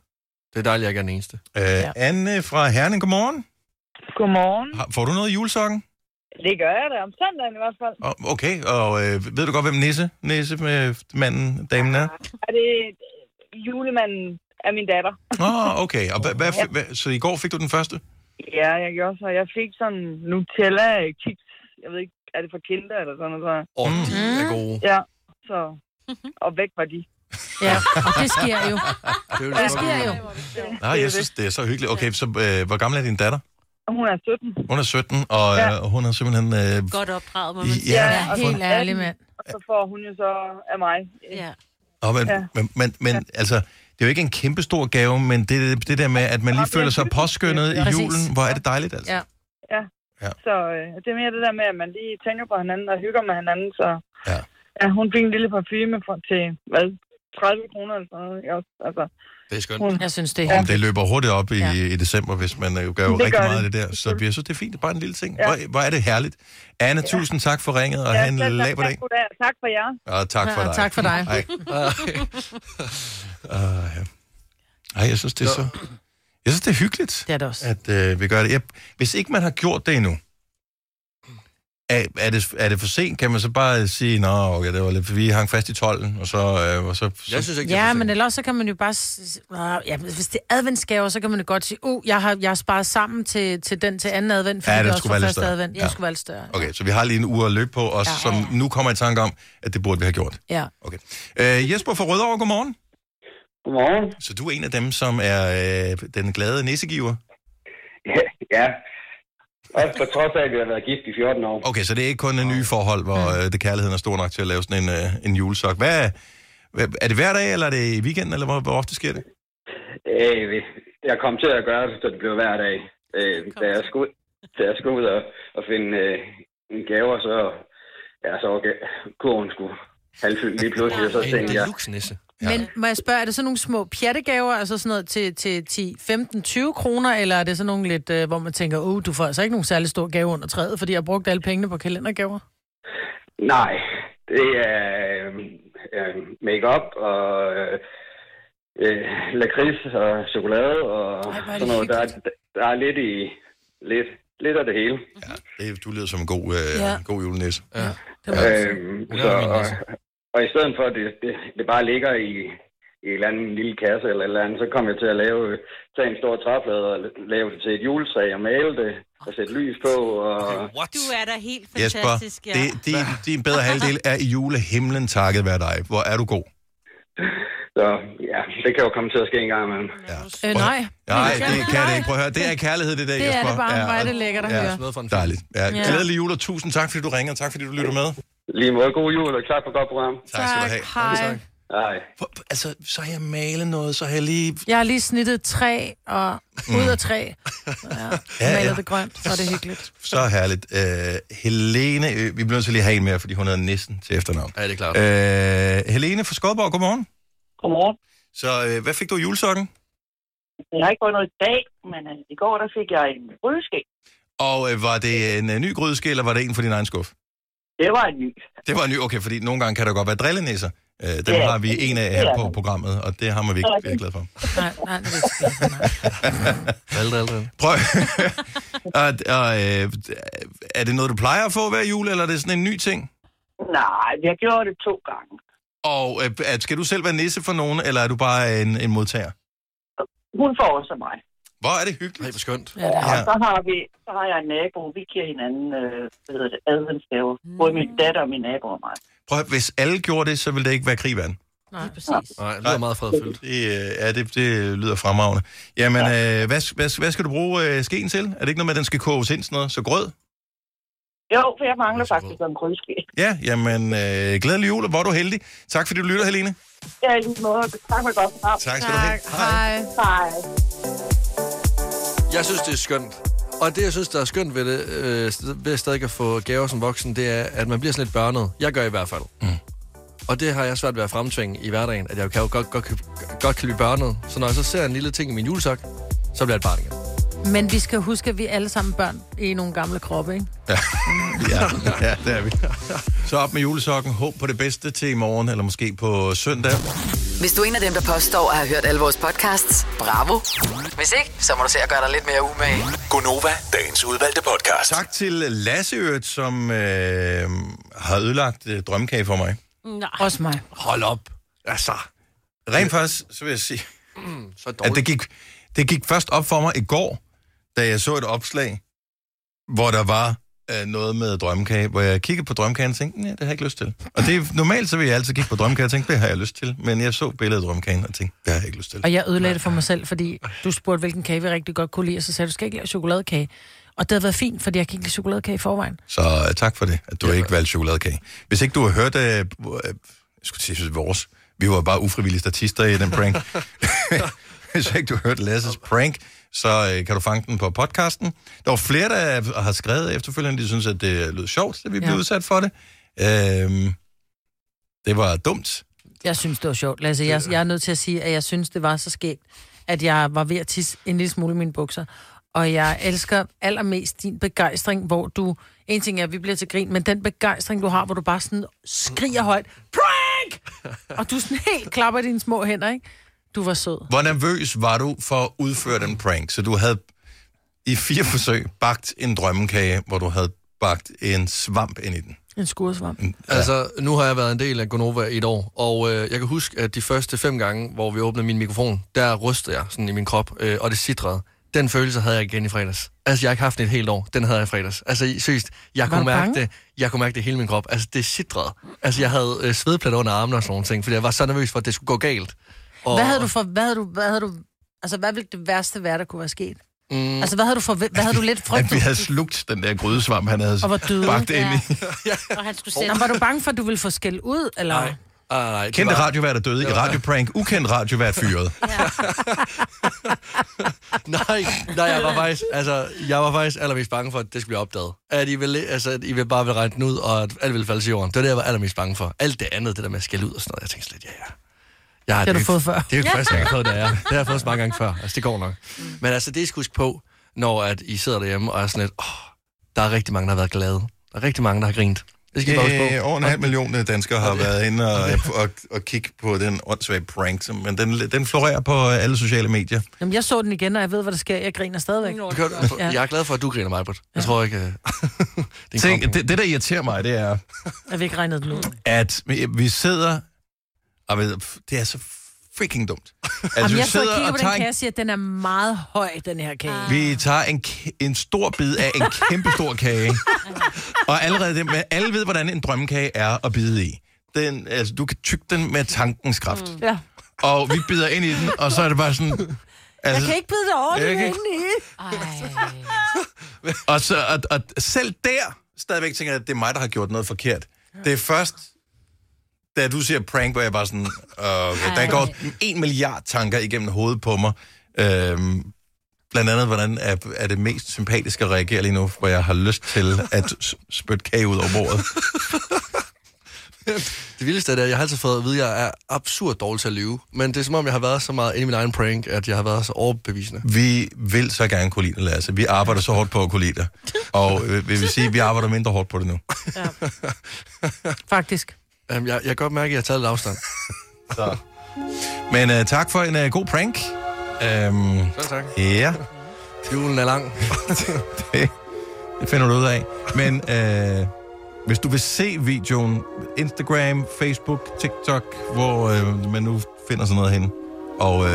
C: Det er dejligt, at jeg ikke er den eneste.
A: Øh, ja. Anne fra Herning, godmorgen.
I: Godmorgen.
A: Har, får du noget i julesokken?
I: Det gør jeg da om søndagen i hvert fald.
A: Og- Okay, og øh, ved du godt, hvem Nisse, Nisse med manden, damen er?
I: Er det julemanden af min datter?
A: Åh, oh, okay. Og hvad, hvad, hvad, så i går fik du den første?
I: Ja, jeg gjorde så. Jeg fik sådan Nutella kiks. Jeg ved ikke, er det fra Kinder eller sådan noget? tror jeg.
C: Åh, de er
B: Mm.
C: gode.
I: Ja, så... Og væk var de.
B: Ja, og det sker jo.
C: Det,
B: Det sker jo.
A: Nej, jeg synes, det er så hyggeligt. Okay, så øh, hvor gammel er din datter?
I: Hun er 17.
A: Hun er 17, og
I: Ja.
A: øh, hun har simpelthen... Øh,
D: Godt opdraget, må man
A: man sige. Ja,
B: Ja, helt ærlig, mand.
I: Og så får hun jo så af mig.
D: Ja.
A: og man,
I: Ja.
A: men, men, men altså, det er jo ikke en kæmpe stor gave, men det, det der med, at man lige føler sig påskyndet i
I: Præcis.
A: julen, hvor er det dejligt, altså.
B: Ja.
I: Ja.
A: Ja.
I: Så øh, det er mere det der med, at man lige tænker på hinanden og hygger med hinanden. Så
A: Ja.
I: ja hun fik en lille parfume for, til, hvad, 30 kroner eller sådan noget. ikke også? Altså,
C: Det er skønt.
B: Jeg synes, det er
A: Om
B: hyggeligt.
A: det løber hurtigt op i, ja. i december, hvis man øh, gør jo
I: Det gør
A: rigtig meget af
I: det.
A: det der. Så jeg synes, det er fint. Det er bare en lille ting. Ja. Hvor, hvor er det herligt. Anna, ja. tusind tak for ringet, og ja, have en
I: selv
A: laber
I: tak.
A: dag.
I: Goddag. Tak for jer.
A: Og tak for
B: Ja,
A: dig.
B: og tak for dig.
A: Ej. Uh, Ej, jeg synes, det er så... Jeg synes, det er hyggeligt,
B: det er det også.
A: at øh, vi gør det. Jeg, hvis ikke man har gjort det endnu, er, er, det, er det for sent? Kan man så bare sige, nå, okay, det var lidt, vi hang fast i tolden, og så... Øh, og så, så
C: Jeg synes ikke, det er
B: Ja,
C: for
B: men ellers så kan man jo bare... s- s- ah, Ja, men hvis det er adventsgaver, så kan man jo godt sige, uh, jeg har, jeg har sparet sammen til, til den til anden advent, fordi
A: Ja,
B: ja,
A: den
B: det også
A: skulle
B: var
A: være lidt
B: første
A: større.
B: advent. Ja,
A: Ja.
B: det skulle være lidt større.
A: Okay, så vi har lige en uge at løbe på os, ja, ja, ja. som nu kommer i tanke om, at det burde vi have gjort.
B: Ja.
A: Okay. Øh, Jesper fra Rødovre, godmorgen.
O: Godmorgen.
A: Så du er en af dem, som er øh, den glade nissegiver?
O: ja. Også på trods af, at vi har været gift i 14 år.
A: Okay, så det er ikke kun en ny forhold, hvor øh, det kærligheden er stor nok til at lave sådan en, øh, en julesok. Hvad, hvad, er det hver dag, eller er det i weekenden, eller hvor, hvor ofte sker det?
O: Øh, jeg kom til at gøre det, så det blev hver dag. Øh, da, jeg skulle, da jeg skulle ud og, og finde øh, en gave, og så, ja, så var ga- kurven skulle halvfyldt lige pludselig, og så tænkte jeg,
C: Luxnisse.
B: Men må jeg spørge, er det sådan nogle små pjattegaver, altså sådan noget til, til 10, 15, 20 kroner, eller er det sådan nogle lidt, øh, hvor man tænker, uh, du får altså ikke nogen særlig stor gave under træet, fordi jeg har brugt alle pengene på kalendergaver?
O: nej, det er øh, øh, make-up og øh, øh, lakrids og chokolade og
A: hvor er det
O: sådan noget. Der, er- der er lidt i lidt, lidt af det hele.
A: Det, du lyder som en god, øh,
O: Ja.
A: ja. god julenisse.
C: Ja.
O: Øhm, så, og, og i stedet for, at det, det, det bare ligger i, i en eller anden lille kasse eller et eller andet, så kom jeg til at lave, tage en stor træplade og lave det til et juletræ og male det og sætte lys på. Og,
D: Du er da helt
A: Jesper,
D: fantastisk, ja.
A: det, din, din bedre halvdel er i julehimlen takket være dig. Hvor er du god?
O: så ja, det kan jo komme til at ske en gang imellem.
B: Øh,
A: Nej,
B: nej. Men-
A: det kan det ikke. Prøv at høre. Det er kærlighed, det der,
B: Det er
A: Jesper.
B: det bare. Hvor er det lækkert at
A: ja,
B: høre.
A: Ja, dejligt. Ja,
B: Ja.
A: glædelig jul, og tusind tak, fordi du ringer. Tak, fordi du lytter med.
O: Lige måde, god jul og tak for godt program.
A: Tak skal du have.
B: Hej.
A: Tak.
O: Hej.
A: Altså, så har jeg malet noget, så har jeg lige...
B: Jeg har lige snittet et træ, og ud af træ, ja,
A: Mm. Ja,
B: ja,
A: ja.
B: malet det grønt, så er det hyggeligt.
A: Så herligt. Øh, Helene, øh, vi bliver nødt til lige at have en mere, fordi hun hedder Nissen til efternavn.
C: Ja, det er klart.
A: Øh, Helene fra Skodborg, godmorgen.
I: Godmorgen.
A: Så øh, hvad fik du i julesokken?
I: Jeg har ikke fået noget i dag, men øh, i går der fik jeg en rødske.
A: Og øh, var det en øh, ny grydeske, eller var det en for din egen skuff?
I: Det var en ny.
A: Det var en ny, okay, fordi nogle gange kan der godt være drillenisser. Øh, dem
I: Ja.
A: har vi en af her
I: Ja.
A: på programmet, og det har man virkelig virkelig glad for.
B: Nej, nej, det er ikke.
C: Aldrig, aldrig.
A: Prøv. og, og, øh, er det noget, du plejer at få hver jul, eller er det sådan en ny ting?
I: Nej, jeg gjorde det to gange.
A: Og øh, er- skal du selv være nisse for nogen, eller er du bare en, en modtager?
I: Hun får også af mig.
A: Hvor er det hyggeligt.
C: Det er skønt.
I: Ja, og så har, vi, så har jeg en nabo. Vi giver hinanden øh, hvad hedder det, adventsgaver. Både min datter og min nabo og mig.
A: Prøv at, hvis alle gjorde det, så ville det ikke være krig, vand.
B: Nej, præcis.
C: Nej, det lyder meget fredfyldt.
A: Det, øh, ja, det, det lyder fremragende. Jamen, ja. øh, hvad, hvad, hvad skal du bruge øh, skeen til? Er det ikke noget med, at den skal koges ind sådan noget? Så grød?
I: Jo, for jeg mangler faktisk en krydske.
A: Ja, jamen, øh, glædelig jul, og hvor er du heldig. Tak fordi du lytter, Helene.
I: Ja, i lige måde. Tak for godt.
A: Tak skal du have.
B: Hej.
I: Hej.
C: Jeg synes, det er skønt. Og det, jeg synes, der er skønt ved det, øh, st- ved stadig at få gaver som voksen, det er, at man bliver sådan lidt børnet. Jeg gør i hvert fald. Mm. Og det har jeg svært ved at fremtvinge i hverdagen, at jeg kan jo godt, godt, kan- godt kan blive børnet. Så når jeg så ser en lille ting i min julesok, så bliver jeg et barn igen.
B: Men vi skal huske, at vi er alle sammen børn i nogle gamle kroppe, ikke?
A: Ja. ja, ja, det er vi. Så op med julesokken. Håb på det bedste til i morgen, eller måske på søndag.
H: Hvis du er en af dem, der påstår at have hørt alle vores podcasts, bravo. Hvis ikke, så må du se at gøre dig lidt mere umage.
F: Gunova, dagens udvalgte podcast.
A: Tak til Lasse Ørt, som øh, har ødelagt øh, drømkage for mig.
D: Nej.
B: Også mig.
A: Hold op. Altså. Rent faktisk, så vil jeg sige,
C: Mm, så
A: at det gik, det gik først op for mig i går, da jeg så et opslag, hvor der var øh, noget med drømmekage, hvor jeg kiggede på drømmekagen og tænkte, nej, det har jeg ikke lyst til. Og det, er- normalt så vil jeg altid kigge på drømmekagen og tænke, det har jeg lyst til. Men jeg så billedet af drømmekagen og tænkte, det har jeg ikke lyst til.
B: Og jeg ødelagde det for mig selv, fordi du spurgte, hvilken kage vi rigtig godt kunne lide, og så sagde du, du skal ikke lave chokoladekage. Og det havde været fint, fordi jeg kan ikke lide chokoladekage i forvejen.
A: Så uh, tak for det, at du ja, ikke valgte chokoladekage. Hvis ikke du har hørt, uh, uh, jeg skulle sige, synes, vores, vi var bare ufrivillige statister i den prank. Hvis ikke du har hørt Lasses prank, så uh, kan du fange den på podcasten. Der var flere, der har skrevet efterfølgende, de synes, at det lød sjovt, at vi blev
B: Ja.
A: udsat for det. Uh, det var dumt.
B: Jeg synes, det var sjovt. Lasse, jeg, jeg er nødt til at sige, at jeg synes, det var så skægt, at jeg var ved at tisse en lille smule i mine bukser. Og jeg elsker allermest din begejstring, hvor du... En ting er, at vi bliver til grin, men den begejstring, du har, hvor du bare sådan skriger højt, prank! Og du sådan helt klapper i dine små hænder, ikke? Du var sød.
A: Hvor nervøs var du for at udføre den prank? Så du havde i fire forsøg bagt en drømmekage, hvor du havde bagt en svamp ind i den.
B: En skuresvamp.
C: Altså, nu har jeg været en del af Gonova i et år, og øh, jeg kan huske, at de første fem gange, hvor vi åbnede min mikrofon, der rystede jeg sådan i min krop, øh, og det sidrede. Den følelse havde jeg igen i fredags. Altså, jeg har ikke haft den et helt år. Den havde jeg i fredags. Altså, i- seriøst, jeg
B: Var
C: kunne
B: du
C: mærke
B: bange?
C: det. Jeg kunne mærke det i hele min krop. Altså, det sidrede. Altså, jeg havde øh, svedpletter under armene og sådan nogle ting, fordi jeg var så nervøs for, at det skulle gå galt. Og,
B: Hvad havde du for... Hvad havde du, hvad havde du, altså, hvad ville det værste være, der kunne være sket?
C: Mm.
B: Altså, hvad havde du, for, hvad havde du lidt
A: At vi
B: frygtet?
A: havde slugt den der grydesvamp, han havde
B: Og var døde.
A: bagt ind i.
D: Og han skulle
B: Nå, var du bange for, at du ville få skæld ud, eller? Nej.
C: Ah, nej, det
A: Kendte
C: var-
A: radiovært er døde i radioprank. Ukendt radiovært fyret.
C: nej, nej, jeg var faktisk, altså, jeg var faktisk allermest bange for, at det skulle blive opdaget. At I, ville, altså, at I ville bare ville regne den ud, og at alt ville falde til jorden. Det var det, jeg var allermest bange for. Alt det andet, det der med at skælde ud og sådan noget, jeg tænkte slet, ja, ja. Jeg
B: Det har
C: er
B: du
C: ikke-
B: fået før.
C: Det er jo ikke første gang, jeg har fået det, ja. Det har jeg fået så mange gange før. Altså, det går nok. Men altså, det I skal huske på, når at I sidder derhjemme og er sådan lidt, åh, oh, der er rigtig mange, der har været glade. Der er rigtig mange, der har grint. Det skal I bare huske på.
A: Øh, over en halv million øh, danskere har været inde og, og, og kigge på den åndssvage prank, som, men den, den florerer på øh, alle sociale medier.
B: Jamen, jeg så den igen, og jeg ved, hvad der sker. Jeg griner stadigvæk.
C: Du kan,
A: altså.
C: jeg er glad for, at du griner, Majbert. Jeg tror ikke... øh, det er en
A: Tænk, det, det, der irriterer mig, det er,
B: At vi ikke regnede den ud.
A: at vi- vi sidder... Og ved, f- det er så freaking dumt. Altså,
B: Jamen,
A: vi
B: jeg sidder og kigger på den
A: tager
B: kage
A: en,
B: og siger, at den er meget høj, den her kage.
A: vi tager en, k- en stor bid af en kæmpe stor kage. og allerede det, men alle ved, hvordan en drømmekage er at bide i. Den, altså, du kan tygge den med tankens kraft.
B: Ja.
A: og vi bider ind i den, og så er det bare sådan... Altså,
B: Mm. Jeg kan ikke bide det over,
A: Jeg
B: det
A: kan
B: er
A: ikke-
B: inde i.
A: Og, så, og, og selv der stadigvæk tænker jeg, at det er mig, der har gjort noget forkert. Det er først, da du siger prank, hvor jeg bare sådan... Øh, okay, der
E: Ej.
A: går en milliard tanker igennem hovedet på mig. Øhm, blandt andet, hvordan er, er det mest sympatiske at reagere lige nu, hvor jeg har lyst til at s- spytte kage ud over bordet.
C: Det vildeste er, det, at jeg har altid fået at vide, at jeg er absurd dårlig til at lyve. Men det er som om, jeg har været så meget inde i min egen prank, at jeg har været så overbevisende.
A: Vi vil så gerne kunne lide det, Lasse. Vi arbejder så hårdt på at kunne lide det. Og øh, vil vi sige, at vi arbejder mindre hårdt på det nu.
B: Faktisk.
C: Jamen, jeg, jeg kan godt mærke, at jeg har taget lidt afstand.
A: Så. Men øh, tak for en øh, god prank. Øhm,
C: Selv tak.
A: Ja.
C: Julen er lang.
A: det, det finder du ud af. Men øh, hvis du vil se videoen, Instagram, Facebook, TikTok, hvor øh, man nu finder sådan noget henne. Og øh,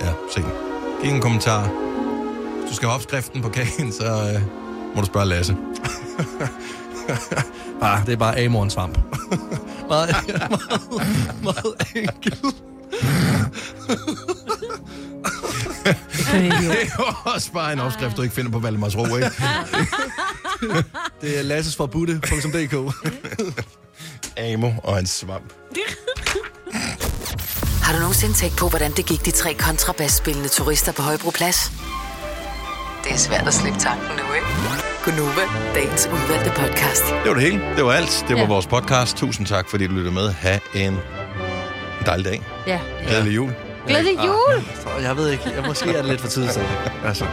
A: ja, se. den. Giv en kommentar. Hvis du skal have opskriften på kagen, så øh, må du spørge Lasse.
C: Bare, det er bare amorens svamp. meget, meget, meget enkelt.
A: det er jo også bare en opskrift, du ikke finder på Valdemars Ro, ikke?
C: Det er lassesforbudte.dk
A: Amo og en svamp.
H: Har du nogensinde tænkt på, hvordan det gik de tre kontrabasspillende turister på Højbroplads? Det er svært at slippe tanken nu, ikke? Gunova, dagens udvalgte podcast.
A: Det var det hele. Det var alt. Det var
H: Ja.
A: ja. vores podcast. Tusind tak, fordi du lyttede med. Ha' en dejlig dag.
B: Ja.
A: Glædelig jul. Ah.
B: Glædelig jul!
C: Jeg ved ikke, jeg måske er det lidt for tidligt. Altså.